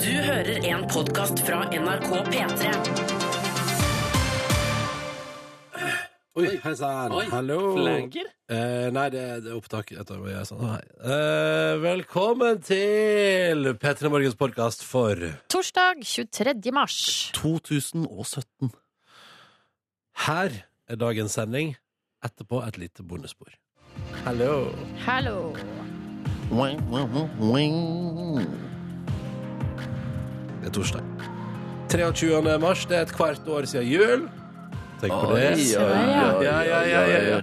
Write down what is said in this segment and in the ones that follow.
Du hører en podkast fra NRK P3. Oi, hei sann. Oi, Hallo. flanker? Eh, nei, det, det er opptak etterpå. Jeg, er sånn. Nei. Eh, velkommen til P3 Morgens podkast for Torsdag 23. mars. 2017. Her er dagens sending. Etterpå et lite bondespor. Hallo. Hallo. Det er torsdag. 23. mars. Det er et kvart år siden jul. Tenk på det. Oi, oi, oi, ja, ja, ja, ja, ja.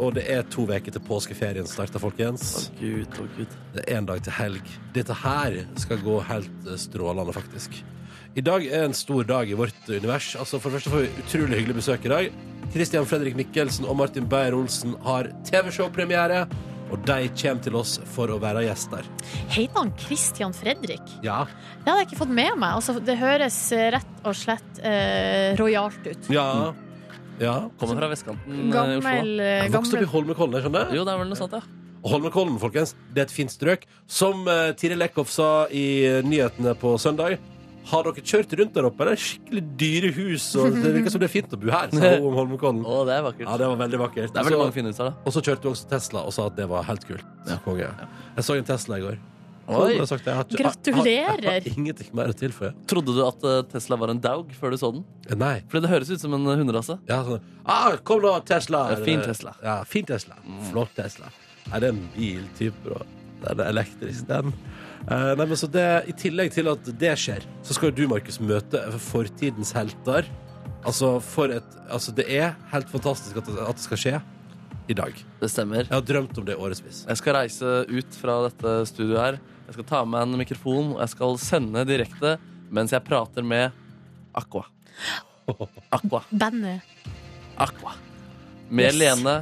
Og det er to uker til påskeferien starter, folkens. Å gud, å gud. Det er en dag til helg. Dette her skal gå helt eh, strålende, faktisk. I dag er en stor dag i vårt univers. Altså, for det første får vi utrolig hyggelig besøk i dag. Christian Fredrik Mikkelsen og Martin Beyer-Olsen har TV-showpremiere, og de kommer til oss for å være gjester. Heter han Christian Fredrik? Ja. Det hadde jeg ikke fått med meg. Altså, det høres eh, rett og slett eh, rojalt ut. Ja. ja. Kommer fra vestkanten eh, i Oslo. Gammel, eh, Jeg vokste opp gammel i Holmenkollen, jeg skjønner. Jo, det er vel noe sånt, ja. Og Holmenkollen, folkens, det er et fint strøk. Som eh, Tiril Eckhoff sa i eh, nyhetene på søndag, har dere kjørt rundt der oppe? Det er skikkelig dyre hus, og det virker som det er fint å bo her, sa hun om Holmenkollen. Å, det er vakkert. Ja, det var veldig vakkert. det er veldig Så- mange fine hus her, og så kjørte hun også Tesla og sa at det var helt kult. Så konge. Jeg så en Tesla i går. da. Oi. Jeg har sagt, jeg har ikke- Gratulerer. Jeg har, jeg har ingenting mer å tilføye. Trodde du at eh, Tesla var en daug før du så den? Eh, Nei. Fordi det høres ut som en hunderase. Ja, sånn, ah, kom nå, Tesla! Det er fin Tesla. Ja, fin Tesla. Flott Tesla. Er det er en biltype, da? Den er elektrisk, den. Eh, nei, men så det, I tillegg til at det skjer, så skal jo du, Markus, møte fortidens helter. Altså, for et, altså, det er helt fantastisk at det, at det skal skje i dag. Jeg Det stemmer. har drømt om det i årevis. Jeg skal reise ut fra dette studioet her. Jeg skal ta med en mikrofon, og jeg skal sende direkte mens jeg prater med Aqua. Aqua. bandet. Aqua. Med Yes. Lene.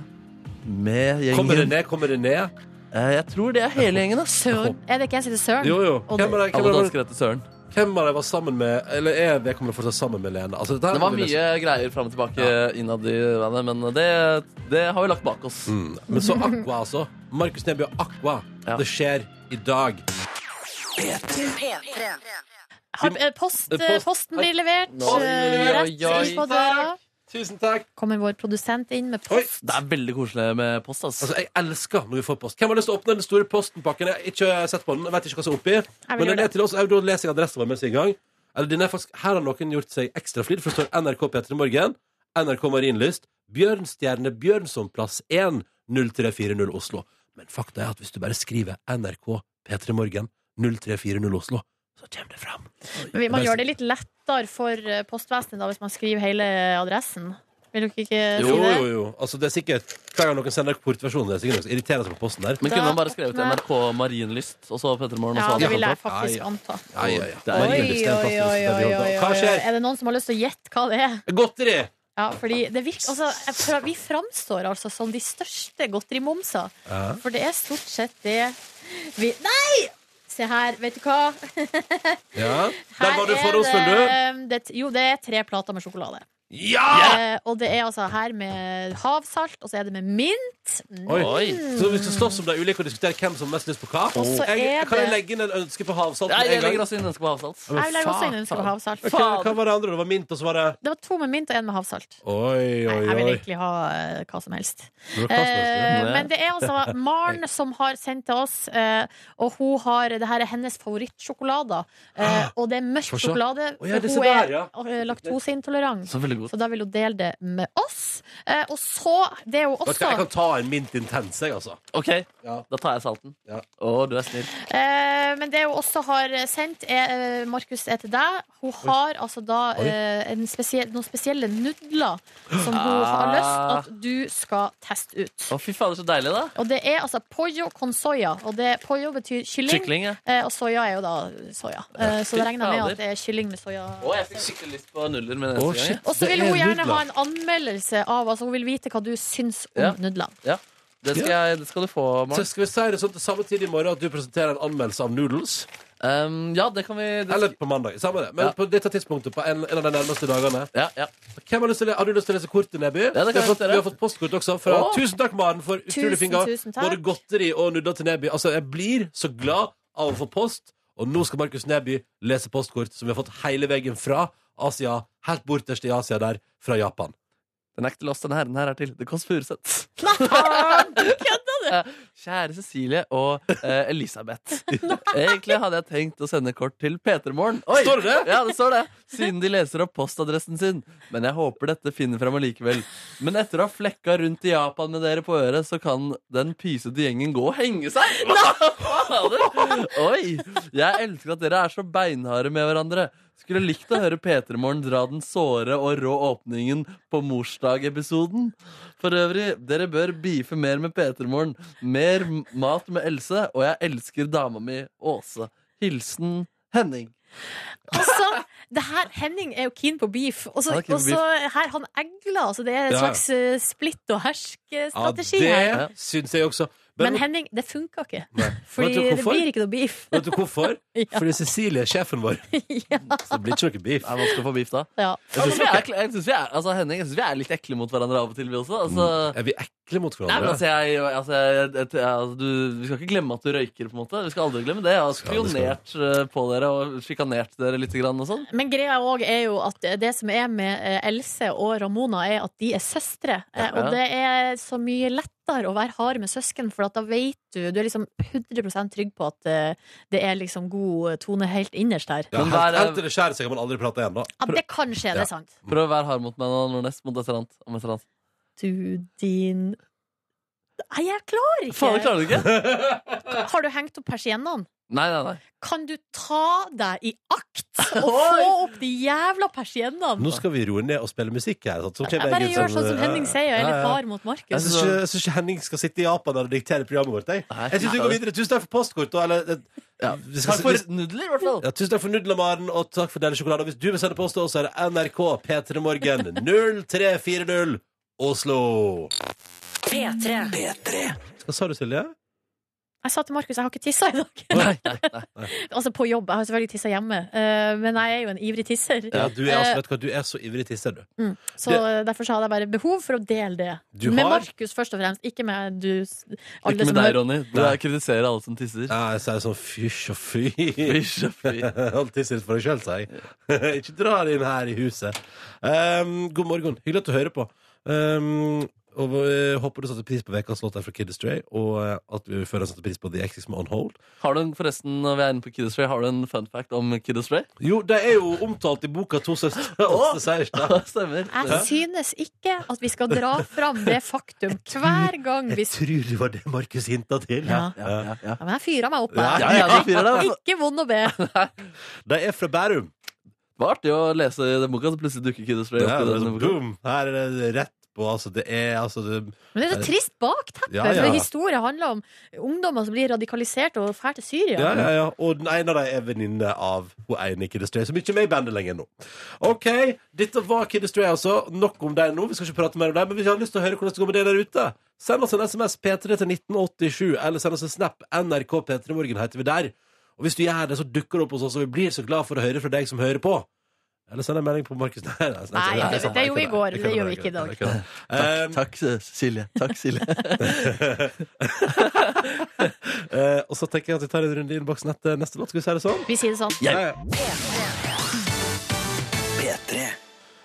Med gjengen. Kommer det ned? Kommer det ned? Eh, Jeg tror det er hele gjengen, ass. Søren. Er det ikke jeg som heter Søren? Jo, jo. Og Hvem av det, dem- hvem Alle av dem- dansker etter Søren. hvem av dem var sammen med Eller er vedkommende fortsatt sammen med Lene? Altså, dette her Det var må vi lese- mye greier fram og tilbake innad i bandet, men det, det har vi lagt bak oss. Mm. Men så Aqua, altså. Markus Neby og Aqua. Ja. Det skjer i dag. har, eh, post, eh, Post- posten blir levert. Nå- eh, Oi, Rett oi, inn på døra. Tusen takk. Kommer vår produsent inn med Oi. post. Det er veldig koselig med post, ass. Altså, jeg elsker når vi får post. Hvem har lyst til å åpne den store postenpakken? Jeg har ikke sett på den. Jeg vet ikke hva som er oppi. Men gjøre den er det. til oss. Jeg, da leser jeg adressen vår mens vi er i gang. Eller, den er faktisk, her har noen gjort seg ekstra flid. For det står NRK P3 Morgen, NRK Marienlyst, Bjørnstjerne Bjørnsonplass 1, 0340 Oslo. Men fakta er at hvis du bare skriver NRK P3 Morgen, 0340 Oslo, så kommer det fram. Men Man gjør det litt lettere for eh, postvesenet da, hvis man skriver hele adressen. Vil dere ikke Jo, si det? jo, jo. Altså, det er sikkert Hver gang noen sender kortversjonen, det er sikkert noen som irriterer seg på posten der. Men Da kunne man bare skrevet åpner- NRK Marienlyst, og så Petter Morgen, og Ja, så det hadde vil jeg jeg fått opp? faktisk Ja, ja. anta. Ja, ja, ja. Det Oi, er oi, Marienlyst. en plass oi, oi, som- oi, oi. Hva skjer? Er det noen som har lyst til å gjette hva det er? Godteri! Ja, fordi det virker, altså, jeg prøver, Vi framstår altså som de største godterimomser. For det er stort sett det vi Nei! Se her, vet du hva? Ja. Der Her var du er forhåndsfull, du. det- det, Jo, det er tre plater med sjokolade. Ja! Eh, og det er altså her med havsalt, og så er det med mint. Mm. Oi. Oi. Så vi skal slåss om de ulike og diskutere hvem som har mest lyst på hva? Og så Jeg, er kan jeg det- legge inn en ønske på havsalt? Nei, med en jeg legger gang? også inn ønske på havsalt. men Jeg vil også faen. inn ønske på havsalt. Ok, Hva var det andre? Det var mint, og så var det Det var to med mint og en med havsalt. Oi, Nei, oi, jeg vil oi. egentlig ha eh, hva som helst. Det var hva som helst, Eh, det. men det er altså Maren som har sendt til oss, eh, og hun har, det her er hennes favorittsjokolader. Eh, og det er mørk Få se. sjokolade. Ah, Å ja, det for hun er så er der, ja. eh, laktoseintolerant. Så veldig godt. Så da vil hun dele det med oss. Eh, og så Det er jo Vet du hva, Jeg også kan ta en mint intens, jeg, altså. OK, Ja. da tar jeg salten. Ja. Å, du er snill. eh, Men det hun også har sendt, er, eh, Markus, er til deg. Hun har altså da Oi. eh, en spesie- noen spesielle nudler som hun har Ah. lyst at du skal teste ut. Å, fy fader, så deilig, da. Og det er altså pollo con soya. Og det, pollo betyr kylling. Kykling, ja. Eh, og soya er jo da soya. Eh, så det regner jeg med at det er kylling med soya. Å, jeg fikk skikkelig lyst på nuller med neste Å, gang. jeg. shit. Og så det vil er hun gjerne nudler. ha en anmeldelse av Altså Hun vil vite hva du syns om Ja. nudlene. Ja. Det skal, jeg, det skal du få, Så Maren. skal vi si det sånn til samme tid i morgen at du presenterer en anmeldelse av noodles? Um, ja, det kan vi det Eller på mandag. Samme det. Men Ja. på dette tidspunktet, på en, en av de nærmeste dagene. Ja, ja. Hvem har, lyst til, å le- har du lyst til å lese kortet, Neby? Ja, det vi, har kan jeg fått, gjøre. vi har fått postkort også. Fra, Åh. Tusen takk, Maren, for utrolig Tusen, fin gave. tusen takk. Både godteri og nudler til Neby. Altså, jeg blir så glad av å få post. Og nå skal Markus Neby lese postkort som vi har fått hele veien fra Asia, helt borterst i Asia der, fra Japan. Den er ikke til oss, den her. Den her er til The Kåss Furuseth. Kjære Cecilie og eh, Elisabeth. Egentlig hadde jeg tenkt å sende kort til P3morgen. Oi! Står det? Ja, det står det. Siden de leser opp postadressen sin. Men jeg håper dette finner fram allikevel. Men etter å ha flekka rundt i Japan med dere på øret, så kan den pysete gjengen gå og henge seg! Fader! Oi! Jeg elsker at dere er så beinharde med hverandre. Skulle likt å høre P3morgen dra den såre og rå åpningen på morsdag-episoden. For øvrig, dere bør beefe mer med P3morgen. Mer m- mat med Else, og jeg elsker dama mi Åse. Hilsen Henning. Altså, det her, Henning er jo keen på beef, og så Han er keen på og så her han egler. Altså, det er en Ja. slags eh, splitt og Ja, hersk-strategi her. det syns jeg også. Men Henning, det funka ikke. Nei. Fordi vet du det hvorfor? blir ikke noe beef. Vet du hvorfor? Ja. Fordi Cecilie er sjefen vår. ja. Så det blir ikke noe beef. Det er vanskelig å få beef da. Ja. Jeg syns vi, er ekle- jeg synes vi, er- altså, Henning, jeg synes vi er litt ekle mot hverandre av og til, vi også. Altså, Mm. Er vi ekle mot Nei, men hverandre? altså, jeg, altså, jeg, jeg, jeg, altså du, Vi skal ikke glemme at du røyker. på en måte Vi skal aldri glemme det. Jeg har Skal, det skal. spionert eh, på dere og sjikanert dere litt. Grann, og sånn. Men greia òg er jo at det som er med eh, Else og Ramona, er at de er søstre. Eh, Ja. Og det er så mye lettere å være hard med søsken, for at da vet du Du er liksom 100 trygg på at eh, det er liksom god tone helt innerst her. Ja, Men helt, hver- helt til det skjærer seg, kan man aldri prate igjen, da. Ja, det kan skje, det er sant. Prøv å være hard mot meg nå, Nordnes. Mot et eller annet. Om et eller annet. Du, din Nei, jeg klarer ikke! Faen, klarer du ikke? Har du hengt opp persiennene? Nei, nei, nei. Kan du ta deg i akt og få Oi! opp de jævla persiennene? Nå skal vi roe ned og spille musikk her. Sånn, så Jeg kommer bare egen gjør sånn som Henning sier, jeg er eh, Ja, litt ja. hard mot Markus. Jeg syns ikke, jeg synes ikke Henning skal sitte i Japan og diktere programmet vårt. Jeg, Nei, jeg syns vi går videre. Tusen takk for postkort. Og, eller, eh, Ja. vi skal, Takk for nudler, i hvert fall. ja, tusen takk for nudlemaren, og takk for deilig sjokolade. Og Hvis du vil sende post, til oss, så er det NRK P3morgen 0340 Oslo. P3. Hva sa du, Silje? Jeg sa til Markus jeg har ikke tissa i dag. Nei, nei, nei. altså på jobb. Jeg har selvfølgelig tissa hjemme, eh, men jeg er jo en ivrig tisser. Ja, du, er, Eh, altså, vet du, hva, du er så ivrig tisser, du. Mm. Så eh, derfor så hadde jeg bare behov for å dele det. Du Med har- Markus først og fremst, ikke med du s- alle Ikke med som deg, hører- Ronny. Du Nei. er- kritiserer alle som tisser. Ja, jeg sier sånn fysj og fy. Fysj og fy. Hold tisser litt for deg sjøl, sier jeg. Ikke dra det inn her i huset. Um, god morgen. Hyggelig at du hører på. Um, og eh, Håper du satte pris på ukas låt her fra Kid Astray, og eh, at vi før satte pris på The Exes med On Hold. Har du en, forresten, når vi er inne på Kid Astray, har du en fun fact om Kid Astray? Jo, de er jo omtalt i boka To søstre og Åste Seierstad. Stemmer. Jeg synes ikke at vi skal dra fram det faktum hver gang vi Jeg s- tror det var det Markus hinta til. Ja. Ja, ja, ja. ja, Men jeg fyra meg opp. Ja, Jeg. ja, ja, du fyrer deg altså. opp. Ikke vond å be. De er fra Bærum. Det var artig å lese i den boka, så plutselig dukker Kid Astray Det er, opp. i altså, den boka. boom. Her er det rett på. Altså, det er altså det, Men det er så trist bakteppe, Ja, ja. for historien handler om ungdommer som blir radikalisert og drar til Syria. ja, ja, ja. Og den ene av dem er venninne av hun ene i Kid Astray, som ikke er med i bandet lenger nå. OK, dette var Kid Astray, altså. Nok om dem nå. Vi skal ikke prate mer om dem, men hvis du har lyst til å høre hvordan det går med det der ute, send oss en SMS P3 til 1987, eller send oss en Snap NRK P3 Morgen heter vi der. Og hvis du gjør det, så dukker det opp hos oss, og vi blir så glad for å høre fra deg som hører på. Eller send en melding på Markus Nei, nei, Nei, nei, det- sant, det gjorde vi i kødder, går, jeg det gjør vi kødder, jeg ikke i kødder, jeg kødder. Takk, Silje. Takk, Silje. Eh, eh, Og så tenker jeg at vi tar en runde i innboksen etter neste låt. Skal vi si det sånn? Vi sier det sånn. Ja, Ja. ja.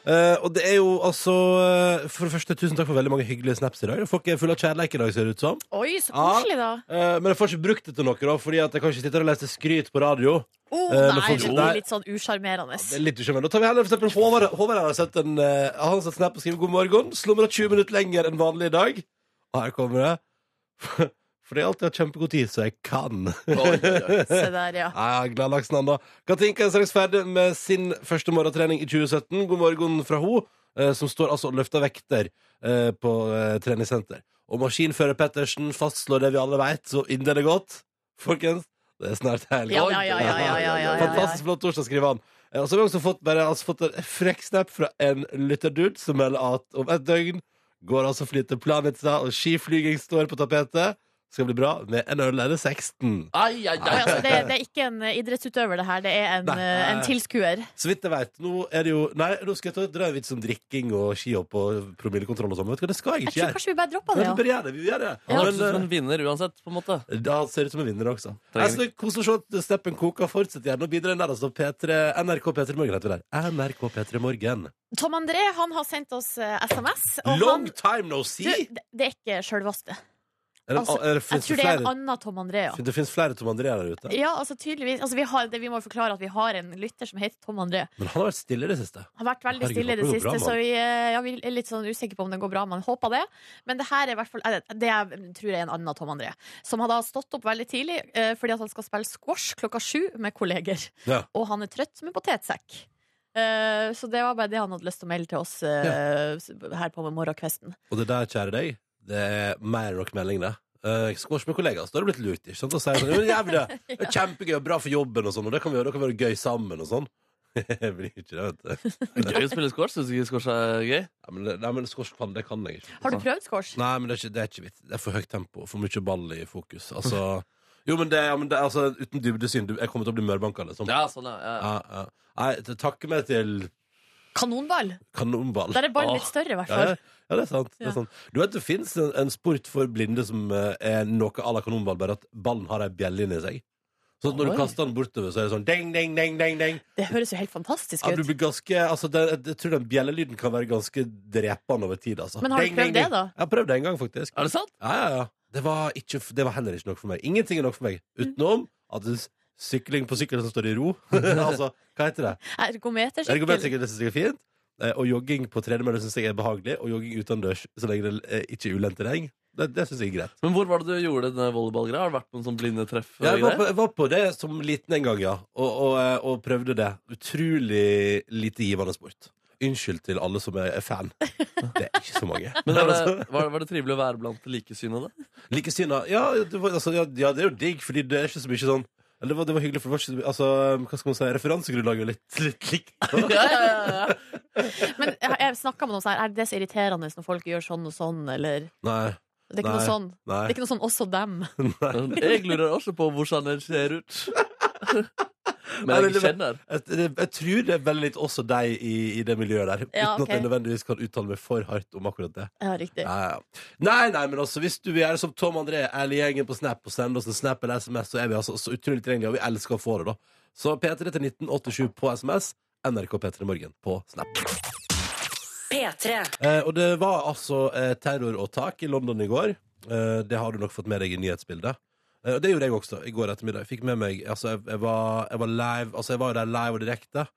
Eh, og det er jo altså eh, For det første, tusen takk for veldig mange hyggelige snaps i dag. Folk er fulle av kjærleik i dag, ser det ut som. Oi, så Ja. koselig, da. Eh, men jeg får ikke brukt det til noe, da, fordi at jeg kan ikke sitte her og lese skryt på radio. Å, Eh, Oh, nå nei, får vi- det nei. blir litt sånn usjarmerende. Det er litt uskjønt. Da tar vi heller for eksempel Håvard. Håvard har sett en eh, Han har sett snap og skriver 'God morgen'. Slumra 20 minutter lenger enn vanlig i dag. Og her kommer det. Fordi jeg alltid har kjempegod tid, så jeg kan. Se der, ja. Ja, ja, glad laksen han da Katinka er straks ferdig med sin første morgentrening i 2017 God morgen fra ho eh, Som står altså og løfter vekter eh, På eh, treningssenter Og maskinfører Pettersen fastslår det vi alle vet Så inderlig godt Folkens, det er snart helg Ja, ja, ja, ja, ja, ja, ja, ja. Fantastisk flott torsdag, skriver han Eh, Og så har vi også fått, bare, altså, fått en frekk snap Fra en lytterdude som melder at Om et døgn går altså flyteplanet Og skiflyging står på tapetet skal bli bra med en øl eller 16. Oi, Ai, ai, ai. altså, det, det er ikke en eh, idrettsutøver, det her. Det er en, Nei. eh, en tilskuer. Så vidt jeg vet, nå er det jo Nei, nå skal jeg ta dra en vits om drikking og skihopp og promillekontroll og sånn. men Vet du hva, det skal jeg Jeg ikke tror gjøre. kanskje vi bare dropper det. Ja. Sånn Men vi bare gjør det. Vi gjør det. Han høres ut som Men, en vinner uansett, på en måte. eh, da ser det ut som en vinner også. Jeg Trenger- synes det er Koselig å se at Steppen koker. Fortsett gjerne å bidra. Der, altså, P3, NRK P3 Morgen heter det der. NRK P3 Morgen. Tom André han har sendt oss eh, SMS. Og han, Long time no du, see! det- det er ikke sjølvaste. Er det- altså, er det- Jeg finnes tror det det er en flere- annen Tom André. Ja. det finnes flere Tom André der ute. Ja, altså tydeligvis altså, vi, har, det, vi må jo forklare at vi har en lytter som heter Tom André. Men han har vært stille i det siste. Han har vært veldig Herregud, stille i det håper det går siste, bra, så vi, eh, ja, vi er litt sånn usikre på om den går bra. Men håper det. Men det her er i hvert fall eh, Det jeg tror jeg er en annen Tom André. Som har da stått opp veldig tidlig eh, fordi at han skal spille squash klokka sju med kolleger. Ja. Og han er trøtt som en potetsekk. Eh, så det var bare det han hadde lyst til å melde til oss eh, s- her på morgenkvesten. Og det der, kjære deg, det er mer enn nok melding, det. Uh, squash med kollegaer, så da har du blitt lurt, ikke sant? Og sier sånn, «Jo, men jævlig, det er kjempegøy og bra for jobben og sånn, og det kan vi gjøre, da kan vi gjøre det gøy sammen og sånn. Jeg blir ikke det, vet du. Gøy å spille squash. Syns du ikke squash er gøy? Nei, men, det- nei, men squash kan, det altså. kan jeg ikke. Har du prøvd squash? Nei, men det er ikke, det er ikke vitt. Det er for høyt tempo, for mye ball i fokus. Altså, jo, men det, ja, men det altså, uten dybdesyn, du- jeg kommer til å bli mørbanka, liksom. Ja, sånn, ja. ja. Ja, ja. Nei, takke meg til Kanonball! kanonball. Der er ballen litt Åh. større, i hvert Ja, fall. ja. ja, det er sant. Det Ja. er sant. Du vet, det fins en, en sport for blinde som eh, er noe à la kanonball, bare at ballen har ei bjelle inni seg. Så at når Oi. du kaster den bortover, så er det sånn ding, ding, ding, ding, ding. Det høres jo helt fantastisk Ja, du ut. blir ganske, altså, det, jeg tror den bjellelyden kan være ganske drepende over tid. Altså. Men har du Ding, prøvd ding, ding. det da? Jeg har prøvd det en gang, faktisk. Er det sant? Ja, ja, ja. Det var, ikke, det var heller ikke nok for meg. Ingenting er nok for meg. Utenom at det er sykling på sykkel som står i ro. altså, hva heter det? Ergometersykkel. Ergometersykkel syns jeg er fint. eh, Og jogging på tredemølle syns jeg er behagelig. Og jogging utendørs så lenge det eh, ikke er ulendt terreng. Det, det syns jeg er greit. Men hvor var det du gjorde denne volleyballgreia? Har det vært på noen sånn blinde treff? Ja, jeg, var og på, greier? jeg var på det som liten en gang, ja. Og, og, eh, og prøvde det. Utrolig lite givende sport. Unnskyld til alle som er er fan. Det er ikke så mange. Men var det, var, var det trivelig å være blant likesynede? Likesinna ja, det var- altså, ja, ja, det er jo digg, fordi det er ikke så mye sånn eller det var, det var hyggelig, for det var ikke, så mye- altså, hva skal man si, referansegrunnlaget er litt, litt likt. Ja, ja, ja, ja. Men jeg, jeg snakket med noen sånn her, Er det så irriterende når folk gjør sånn og sånn, eller Nei, Det er ikke Nei. noe sånn. Det nei. er ikke noe sånn også dem. Jeg lurer også på hvordan den ser ut. Nei, Men det- jeg kjenner. Jeg, jeg, jeg tror det er veldig litt også deg i, i det miljøet der. Ja, Uten ok. at jeg nødvendigvis kan uttale meg for hardt om akkurat det. Ja, riktig. Ja, ja. Nei, nei, men altså, hvis du vil gjøre som Tom André eller gjengen på Snap og sende oss en Snap eller SMS, så er vi altså så utrolig tilgjengelige, og vi elsker å få det, da. Så P3 til 1987 på SMS. NRK P3 Morgen på Snap. P3. Eh, og det var altså eh, terroråtak i London i går. Eh, det har du nok fått med deg i nyhetsbildet. Eh, og det gjorde jeg også i går ettermiddag. Jeg fikk med meg, altså jeg, jeg, var, jeg var live Altså jeg var jo der live og direkte,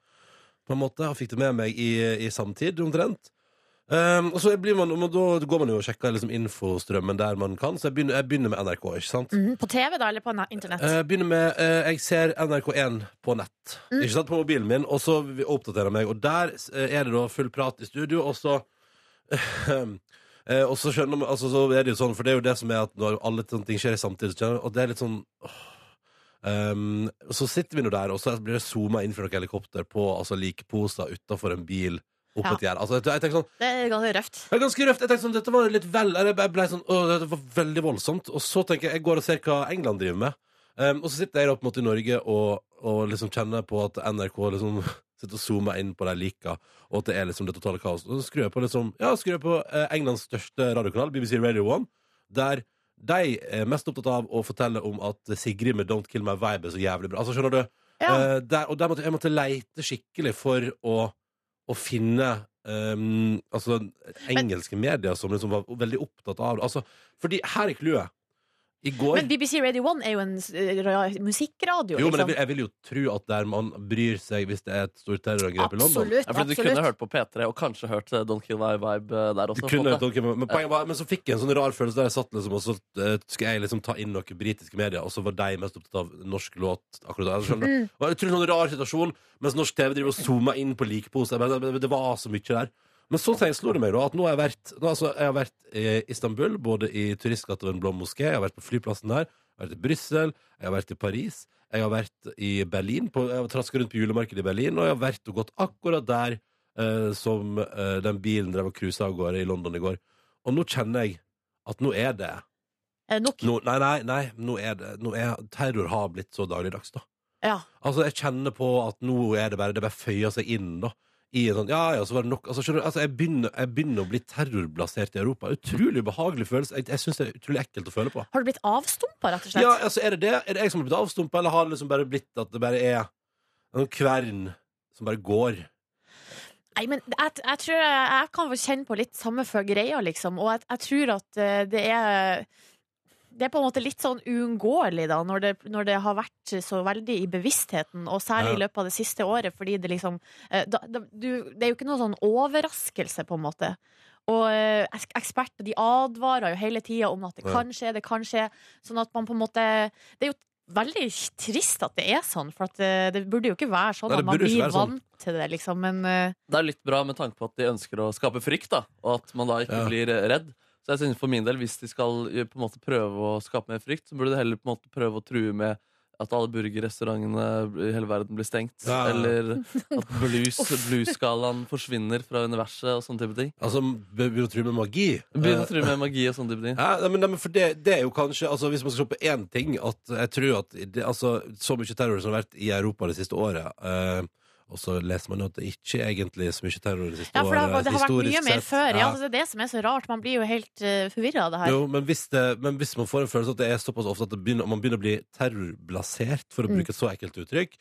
på en måte, og fikk det med meg i, i samtid, omtrent. Um, og så blir man, men da går man jo og sjekker liksom infostrømmen der man kan, så jeg begynner, jeg begynner med NRK, ikke sant? Mhm, På TV, da, eller på na- internett? Eh, begynner med eh, Jeg ser NRK1 på nett. Ikke sant, På mobilen min. Og så vil- oppdaterer jeg meg. Og der eh, er det da full prat i studio, og så eh, Og så skjønner man altså, Så er det jo sånn, for det er jo det som er at når alle sånne ting skjer samtidig, så skjønner man- og det er litt sånn åh. Ehm, og så sitter vi nå der, og så blir det zooma inn fra noen helikopter på altså, likposer utafor en bil. Opp på et gjerde. Altså, jeg, jeg tenker sånn Det er ganske røft. det er ganske røft. Jeg tenkte sånn, dette var litt vel eller Jeg ble sånn, åh, dette var veldig voldsomt. Og så tenker jeg, jeg går og ser hva England driver med. Um, og så sitter jeg da på en måte i Norge og, og liksom kjenner på at NRK liksom sitter og zoomer inn på de lika, og at det er liksom det totale kaos. Og så skrur jeg på liksom, ja, skrur jeg på eh, Englands største radiokanal, BBC Radio 1, der de er mest opptatt av å fortelle om at Sigrid med Don't Kill My Vibe er så jævlig bra. Altså, skjønner du? Ja. Eh, der, og der måtte jeg måtte leite skikkelig for å, å finne ehm, altså, engelske medier som liksom var veldig opptatt av det. Altså, fordi her er clouet. I går Men BBC Radio 1 er jo en s- eh, ra- musikkradio, Jo, men jeg liksom. vil, jeg vil jo tro at der man bryr seg hvis det er et stort terrorangrep i London Absolutt. Ja, fordi du kunne absolutt. hørt på P3 og kanskje hørt eh, Don't Kill My Vibe eh, der også. Du på en kunne, måte. dere, men, poenget var, men så fikk jeg en sånn rar følelse der jeg satt liksom, og så eh, skulle jeg liksom ta inn noen britiske medier, og så var de mest opptatt av norsk låt akkurat der. skjønner du? Det var en utrolig sånn rar situasjon, mens norsk TV driver og zoomer inn på likepose. Jeg bare, Det, det var så mye der. Men så tenk- slo det meg da, at nå har jeg vært, nå, altså, jeg har vært i Istanbul, både i turistgata ved Den blå moské, jeg har vært på flyplassen der, jeg har vært i Brussel, jeg har vært i Paris, jeg har vært i Berlin, på, jeg har trasket rundt på julemarkedet i Berlin, og jeg har vært og gått akkurat der eh, som eh, den bilen drev og cruisa av gårde i London i går. Og nå kjenner jeg at nå er det Er det nok? Nå, nei, nei, nei, nå er det nå er, Terror har blitt så dagligdags, da. Ja. Altså, jeg kjenner på at nå er det bare Det bare føyer seg inn, da. I en sånn, ja, ja, så var det nok altså, skjønner, du, altså, jeg, begynner, jeg begynner å bli terrorblasert i Europa. Utrolig ubehagelig følelse. Jeg, jeg syns det er utrolig ekkelt å føle på. Har du blitt avstumpa, rett og slett? Ja, altså, er det det? Er det jeg som har blitt avstumpa, eller har det liksom bare blitt at det bare er en kvern som bare går? Nei, men jeg, jeg tror jeg, jeg kan vel kjenne på litt samme for greia, liksom. Og jeg, jeg tror at eh, det er det er på en måte litt sånn uunngåelig, da, når det, når det har vært så veldig i bevisstheten, og særlig i Ja. løpet av det siste året, fordi det liksom eh, da, da, du, Det er jo ikke noen sånn overraskelse, på en måte. Og eh, eks- eksperter de advarer jo hele tida om at det Ja. kan skje, det kan skje. Sånn at man på en måte Det er jo veldig trist at det er sånn, for at eh, det burde jo ikke være sånn. Nei, det at man burde ikke blir være sånn. vant til det, liksom. Men eh, Det er litt bra med tanke på at de ønsker å skape frykt, da, og at man da Ja. ikke blir redd. Så jeg synes for min del, hvis de skal eh, på en måte prøve å skape mer frykt, så burde de heller på en måte prøve å true med at alle burgerrestaurantene i hele verden blir stengt. Ja, ja. Eller at blues- blues-skalaen forsvinner fra universet og sånne type ting. Altså, begynner å true med magi. Eh, Begynne å true med magi og sånne type ting. Ja, nei, men, nei, men for det, det er jo kanskje altså, Hvis man skal se på én ting at Jeg tror at det, altså, så mye terror som har vært i Europa det siste året eh, Og så leser man jo at det ikke egentlig er så mye terror det siste Ja, for det, har- året det har vært mye eh, historisk mer sett. før. Ja. Ja. altså, det er det som er så rart. Man blir jo helt uh, forvirra av det her. Jo, men hvis, det, men hvis man får en følelse at det er såpass ofte at det begynner, man begynner å bli terrorblasert, for å Mm. bruke et så ekkelt uttrykk,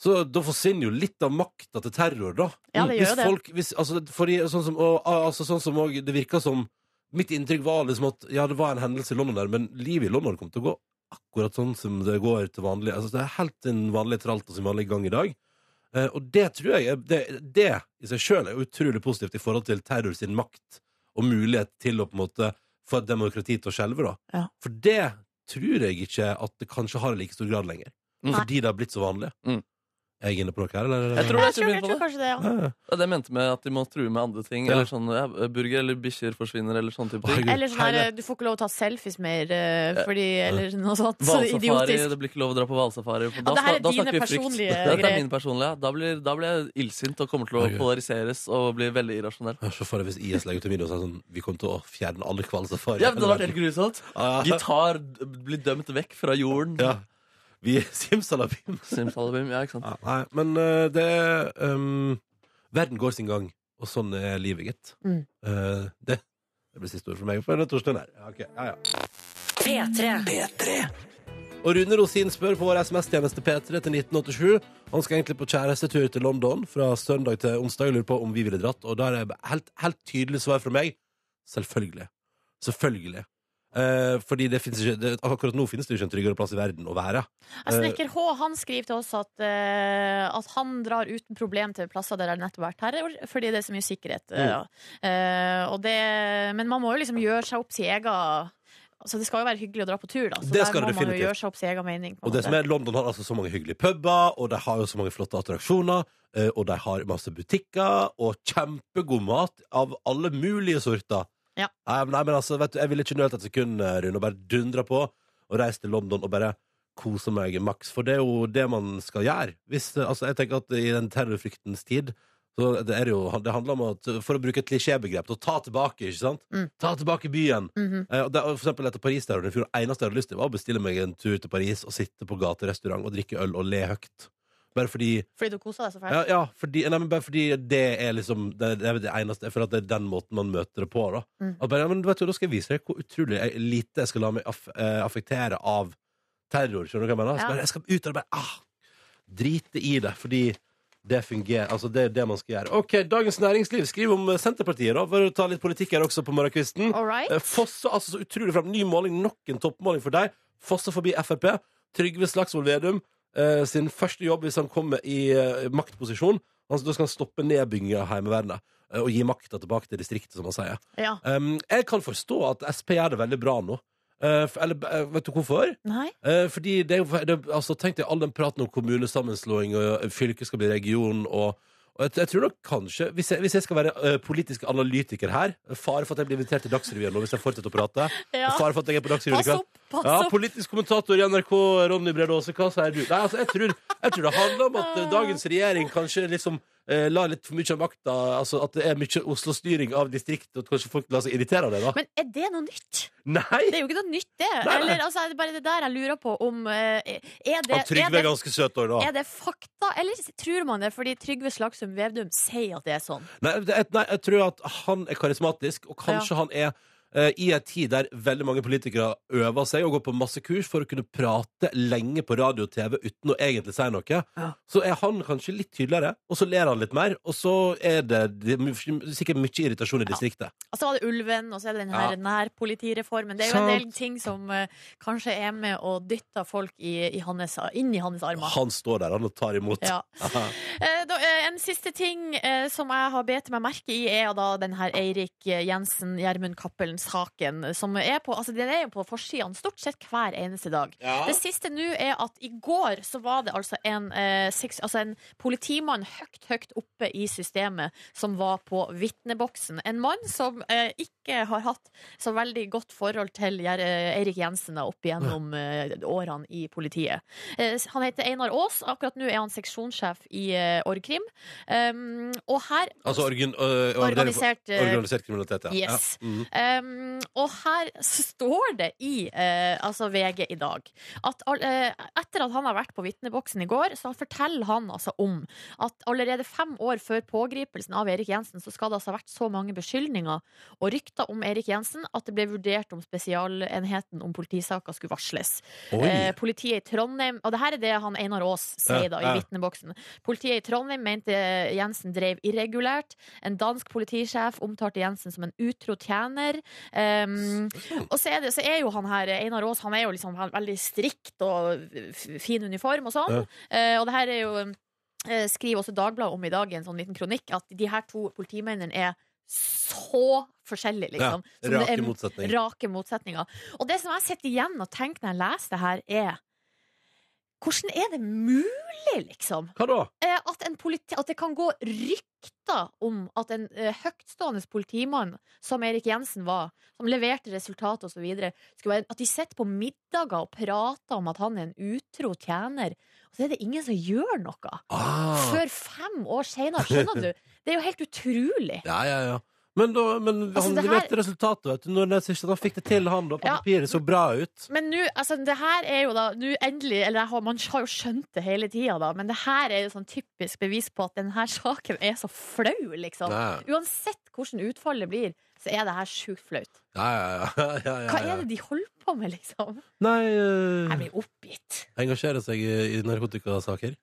så da forsvinner jo litt av makta til terror, da. Ja, det hvis gjør det. folk, hvis, altså, fordi, sånn som, og, altså, sånn som og, det virka som Mitt inntrykk var liksom at ja, det var en hendelse i London der, men livet i London kom til å gå akkurat sånn som det går til vanlig. Altså, det er helt den vanlige tralt og sin vanlige gang i dag. Eh, og det tror jeg er- det, det i seg sjøl er jo utrolig positivt i forhold til terror sin makt og mulighet til å på en måte få et demokrati til å skjelve, da. Ja. For det tror jeg ikke at det kanskje har i like stor grad lenger. Mm. Fordi det har blitt så vanlig. Mm. Er jeg inne på noe her, eller? Jeg tror Ja, det Jeg er så tror, mye jeg på tror det. kanskje det, ja. Ja, ja. Det er det jeg mente med at de må true med andre ting. Ja. Eller sånn, ja, burger eller bikkjer forsvinner, eller sånne type Å, ting. herregud, Eller sånn her, hele- eh, du får ikke lov å ta selfies mer, eh, fordi, eller noe sånt. Så Hvalsafari, idiotisk. det blir ikke lov å dra på Ja, hvalsafari. for det her snak- er dine snakker vi frykt. personlige Dette greier. er min personlige. ja. Da blir, da blir jeg illsint og kommer til å Oi, oi. polariseres og bli veldig irrasjonell. Ja, Se for deg hvis IS legger ut en video og sier sånn Vi kommer til å fjerne alle kvalsafarier. Ja, men det hadde vært helt grusomt. Ja. Gitar d- blir dømt vekk fra jorden. Ja. Vi simsalabim. Simsalabim, ja, ikke sant. Ja, nei, men eh, det ehm, Verden går sin gang, og sånn er livet, gitt. Mm. Eh, det, det blir siste ord for meg for denne torsdagen her. Ja, ok. ja, ja. P3. Og Rune Rosin spør på vår SMS-tjeneste P3 til 1987. Han skal egentlig på kjærestetur til London fra søndag til onsdag. Jeg lurer på om vi ville dratt, og da er det helt, helt tydelig svar fra meg. Selvfølgelig. Selvfølgelig. Eh, fordi det finnes ikke, det, akkurat nå finnes det jo ikke en tryggere plass i verden å være. Ja, Eh. Snekker H han skriver til oss at, eh, at han drar uten problem til plasser der det nettopp har vært terror, fordi det er så mye sikkerhet. eh, Mm. ja. Eh, og det, men man må jo liksom gjøre seg opp sin egen Altså, det skal jo være hyggelig å dra på tur, da. Så Det der skal må det man jo definitivt. gjøre seg opp sin egen mening. på en Og det måte. som er London har altså så mange hyggelige puber, og de har jo så mange flotte attraksjoner, eh, og de har masse butikker, og kjempegod mat av alle mulige sorter. Ja. Nei, men- nei, men altså, vet du, jeg ville ikke nølt et sekund, eh, Rune, og bare dundra på og reist til London og bare kose meg maks, for det er jo det man skal gjøre. Hvis, eh, altså, jeg tenker at i den terrorfryktens tid, så det er det jo, det handler om at, for å bruke et klisjébegrep, å ta tilbake, ikke sant? Mm. Ta tilbake Mm. byen. Mhm. Eh, og det- og For eksempel etter Paris-terroren i fjor, eneste jeg hadde lyst til, var å bestille meg en tur til Paris og sitte på gaterestaurant og drikke øl og le høyt. Bare fordi Fordi du koser deg så fælt. Ja, ja fordi, nei, men bare fordi det er liksom det, det er det eneste Jeg føler at det er den måten man møter det på, da. Mm. At bare, ja, men vet du, da skal jeg vise deg hvor utrolig jeg- lite jeg skal la meg aff, eh, affektere av terror. Skjønner du hva jeg mener? Så Ja. Bare, jeg skal ut og bare ah, drite i det, fordi det fungerer. Altså, det er det man skal gjøre. OK, Dagens Næringsliv skriver om eh, Senterpartiet, da. For å ta litt politikk her også på morgenkvisten. All right. Eh, Fosse altså så utrolig fram. Ny måling, nok en toppmåling for deg. Fosse forbi Frp. Trygve Slagsvold Vedum eh, sin første jobb hvis han kommer i eh, maktposisjon. Altså, da skal han stoppe nedbyggingen av Heimevernet eh, og gi makta tilbake til distriktet, som han sier. Ja. Um, jeg kan forstå at Sp gjør det veldig bra nå. Eh, f- eller, eh, vet du hvorfor? Nei. Eh, fordi det, er jo- det, altså, Tenk deg all den praten om kommunesammenslåing og eh, fylket skal bli region og og jeg, jeg tror nok kanskje, Hvis jeg, hvis jeg skal være eh, politisk analytiker her Fare for at jeg blir invitert til Dagsrevyen nå hvis jeg fortsetter å prate. Ja. Fare for at jeg er på Dagsrevyen i Pass kveld. opp. Pass Ja, opp! politisk kommentator i NRK, Ronny Brede Aase, hva sier du? Nei, altså, jeg tror, jeg tror det handler om at eh, dagens regjering kanskje liksom eh, la litt for mye av makta Altså at det er mye Oslo-styring av distriktet, og at kanskje folk lar seg irritere av det, da. Men er det noe nytt? Nei! Det er jo ikke noe nytt, det. nei. Eller, altså, er det bare det der jeg lurer på om eh, er det, Og er, Trygve er det, ganske søt òg, da. er det fakta, eller tror man det fordi Trygve Slagsum Vevdum sier at det er sånn? Nei, det, er- nei, jeg tror at han er karismatisk, og kanskje han er eh, i en tid der veldig mange politikere øver seg og går på masse kurs for å kunne prate lenge på radio og TV uten å egentlig si noe, Ja. så er han kanskje litt tydeligere, og så ler han litt mer, og så er det, det er my- sikkert mye irritasjon i distriktet. Altså var det ulven, og så er det den Ja. her nærpolitireformen. Det er jo en Sant. del ting som eh, kanskje er med og dytter folk i, i hans, inn i hans armer. Han står der, han og tar imot. Ja. Eh, da, eh, en siste ting eh, som jeg har bet meg merke i, er da den her Eirik eh, Jensen, Gjermund Cappelen-saken. Som er på, altså, den er jo på forsidene stort sett hver eneste dag. Det siste nå er at i går så var det altså en, eh, seks, altså en politimann høyt, høyt oppe i systemet som var på vitneboksen. En mann som eh, ikke har hatt så veldig godt forhold til Gjer- eh, Eirik Jensen da, opp igjennom eh, årene i politiet. Eh, han heter Einar Aas. Akkurat nå er han seksjonssjef i eh, Orgkrim. Um, og her Altså organ, øh, avdeling for- Organisert eh, organisert kriminalitet, ja. Yes. ja. Mhm. Um, og her så står det i eh, altså VG i dag at all- eh, etter at han har vært på vitneboksen i går, så forteller han altså om at allerede fem år før pågripelsen av Erik Jensen, så skal det altså ha vært så mange beskyldninger og rykter om Erik Jensen at det ble vurdert om spesialenheten om politisaker skulle varsles. Oi. Eh, politiet i Trondheim Og det her er det han Einar Aas sier Ja, da, i ja. vitneboksen. Politiet i Trondheim mente Jensen drev irregulært. En dansk politisjef omtalte Jensen som en utro tjener. Um, Mm. og så er, det, så er jo han her Einar Aas Han er jo liksom han, veldig strikt og f- fin uniform og sånn. Eh, og det her er jo eh, Skriver også Dagbladet om i dag i en sånn liten kronikk at de her to politimennene er så forskjellige, liksom. Ja, Som det rake er motsetninger. Rake motsetninger. Og det som jeg sitter igjen og tenker når jeg leser det her, er hvordan er det mulig, liksom? Hva da? Eh, At, en politi at det kan gå rykter om at en eh, høytstående politimann, som Erik Jensen var, som leverte resultat osv., at de sitter på middager og prater om at han er en utro tjener, og så er det ingen som gjør noe. Ah. Før fem år seinere, skjønner du? Det er jo helt utrolig. Ja, ja, ja. Men, da, men Altså, han det her- leverte resultatet, vet du. Når jeg synes at han fikk det til, han, da, på Ja. papiret, så bra ut. Men nå, altså det her er jo da nå endelig, eller jeg har, Man har jo skjønt det hele tida, da, men det her er jo sånn typisk bevis på at denne saken er så flau, liksom. Ja, Uansett hvordan utfallet blir, så er det her sjukt flaut. ja, ja, ja, ja, ja, Hva ja. er det de holder på med, liksom? Nei, Jeg eh, blir oppgitt. engasjere seg i, i narkotikasaker.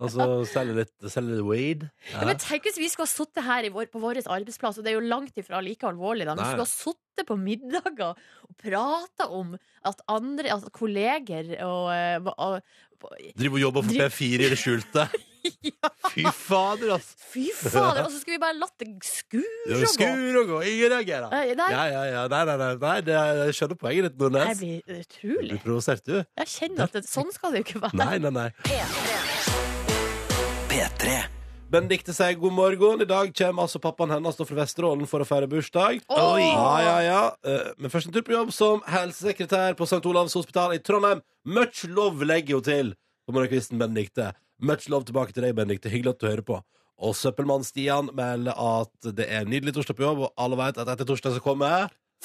Altså selge litt selge litt weed. Ja. Ja. Men tenk hvis vi skulle ha sittet her i vår, på vår arbeidsplass, og det er jo langt ifra like alvorlig, da, men Nei. skulle ha sittet på middager og prata om at andre, at kolleger og, eh, hva- og Drive og jobbe for Driv- P4 i det skjulte. Ja, Fy fader, ass! fy fader! Og så skulle vi bare latt det skure og gå. Skur og gå, ingen reagerer. Nei, nei, Ja, ja, ja. Nei, nei, nei. nei det er, jeg skjønner poenget ditt, jeg Nordnes. blir Du utrolig. blir provosert, du. Jeg kjenner at det, sånn skal det jo ikke være. Nei, nei, nei. Benedikte sier god morgen. I dag kommer altså pappaen hennes da fra Vesterålen for å feire bursdag. Åh! Oi. Ja, ja, ja. Eh, Men først en tur på jobb som helsesekretær på St. Olavs hospital i Trondheim. Much love legger hun til på morgenkvisten, Benedikte. Much love tilbake til deg, Benedikte. Hyggelig at du hører på. Og søppelmann Stian melder at det er en nydelig torsdag på jobb, og alle vet at etter torsdag så kommer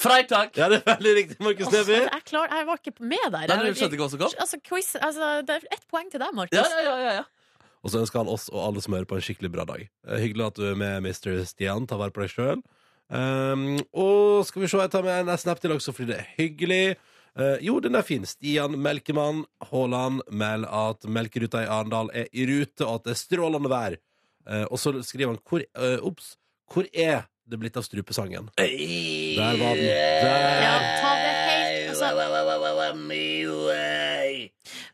Freitag! Ja, det er veldig riktig, Markus Åh, Neby. jeg, klar, jeg var ikke med der. Nei, Jeg- du skjønte ikke hva som kom? Altså, quiz, altså, det er ett poeng til deg, Markus. Ja, ja, ja, ja, ja. Og så ønsker han oss og alle som hører på, en skikkelig bra dag. Eh, Hyggelig at du er med, Mr. Stian. Ta vare på deg sjøl. og skal vi se, jeg tar med en snap til også, fordi det er hyggelig. Eh, jo, den er fin. Stian Melkemann Haaland melder at melkeruta i Arendal er i rute, og at det er strålende vær. Eh, og så skriver han hvor, eh, Ops, hvor er det blitt av strupesangen? Der var den. Der. Ja, ta det helt altså.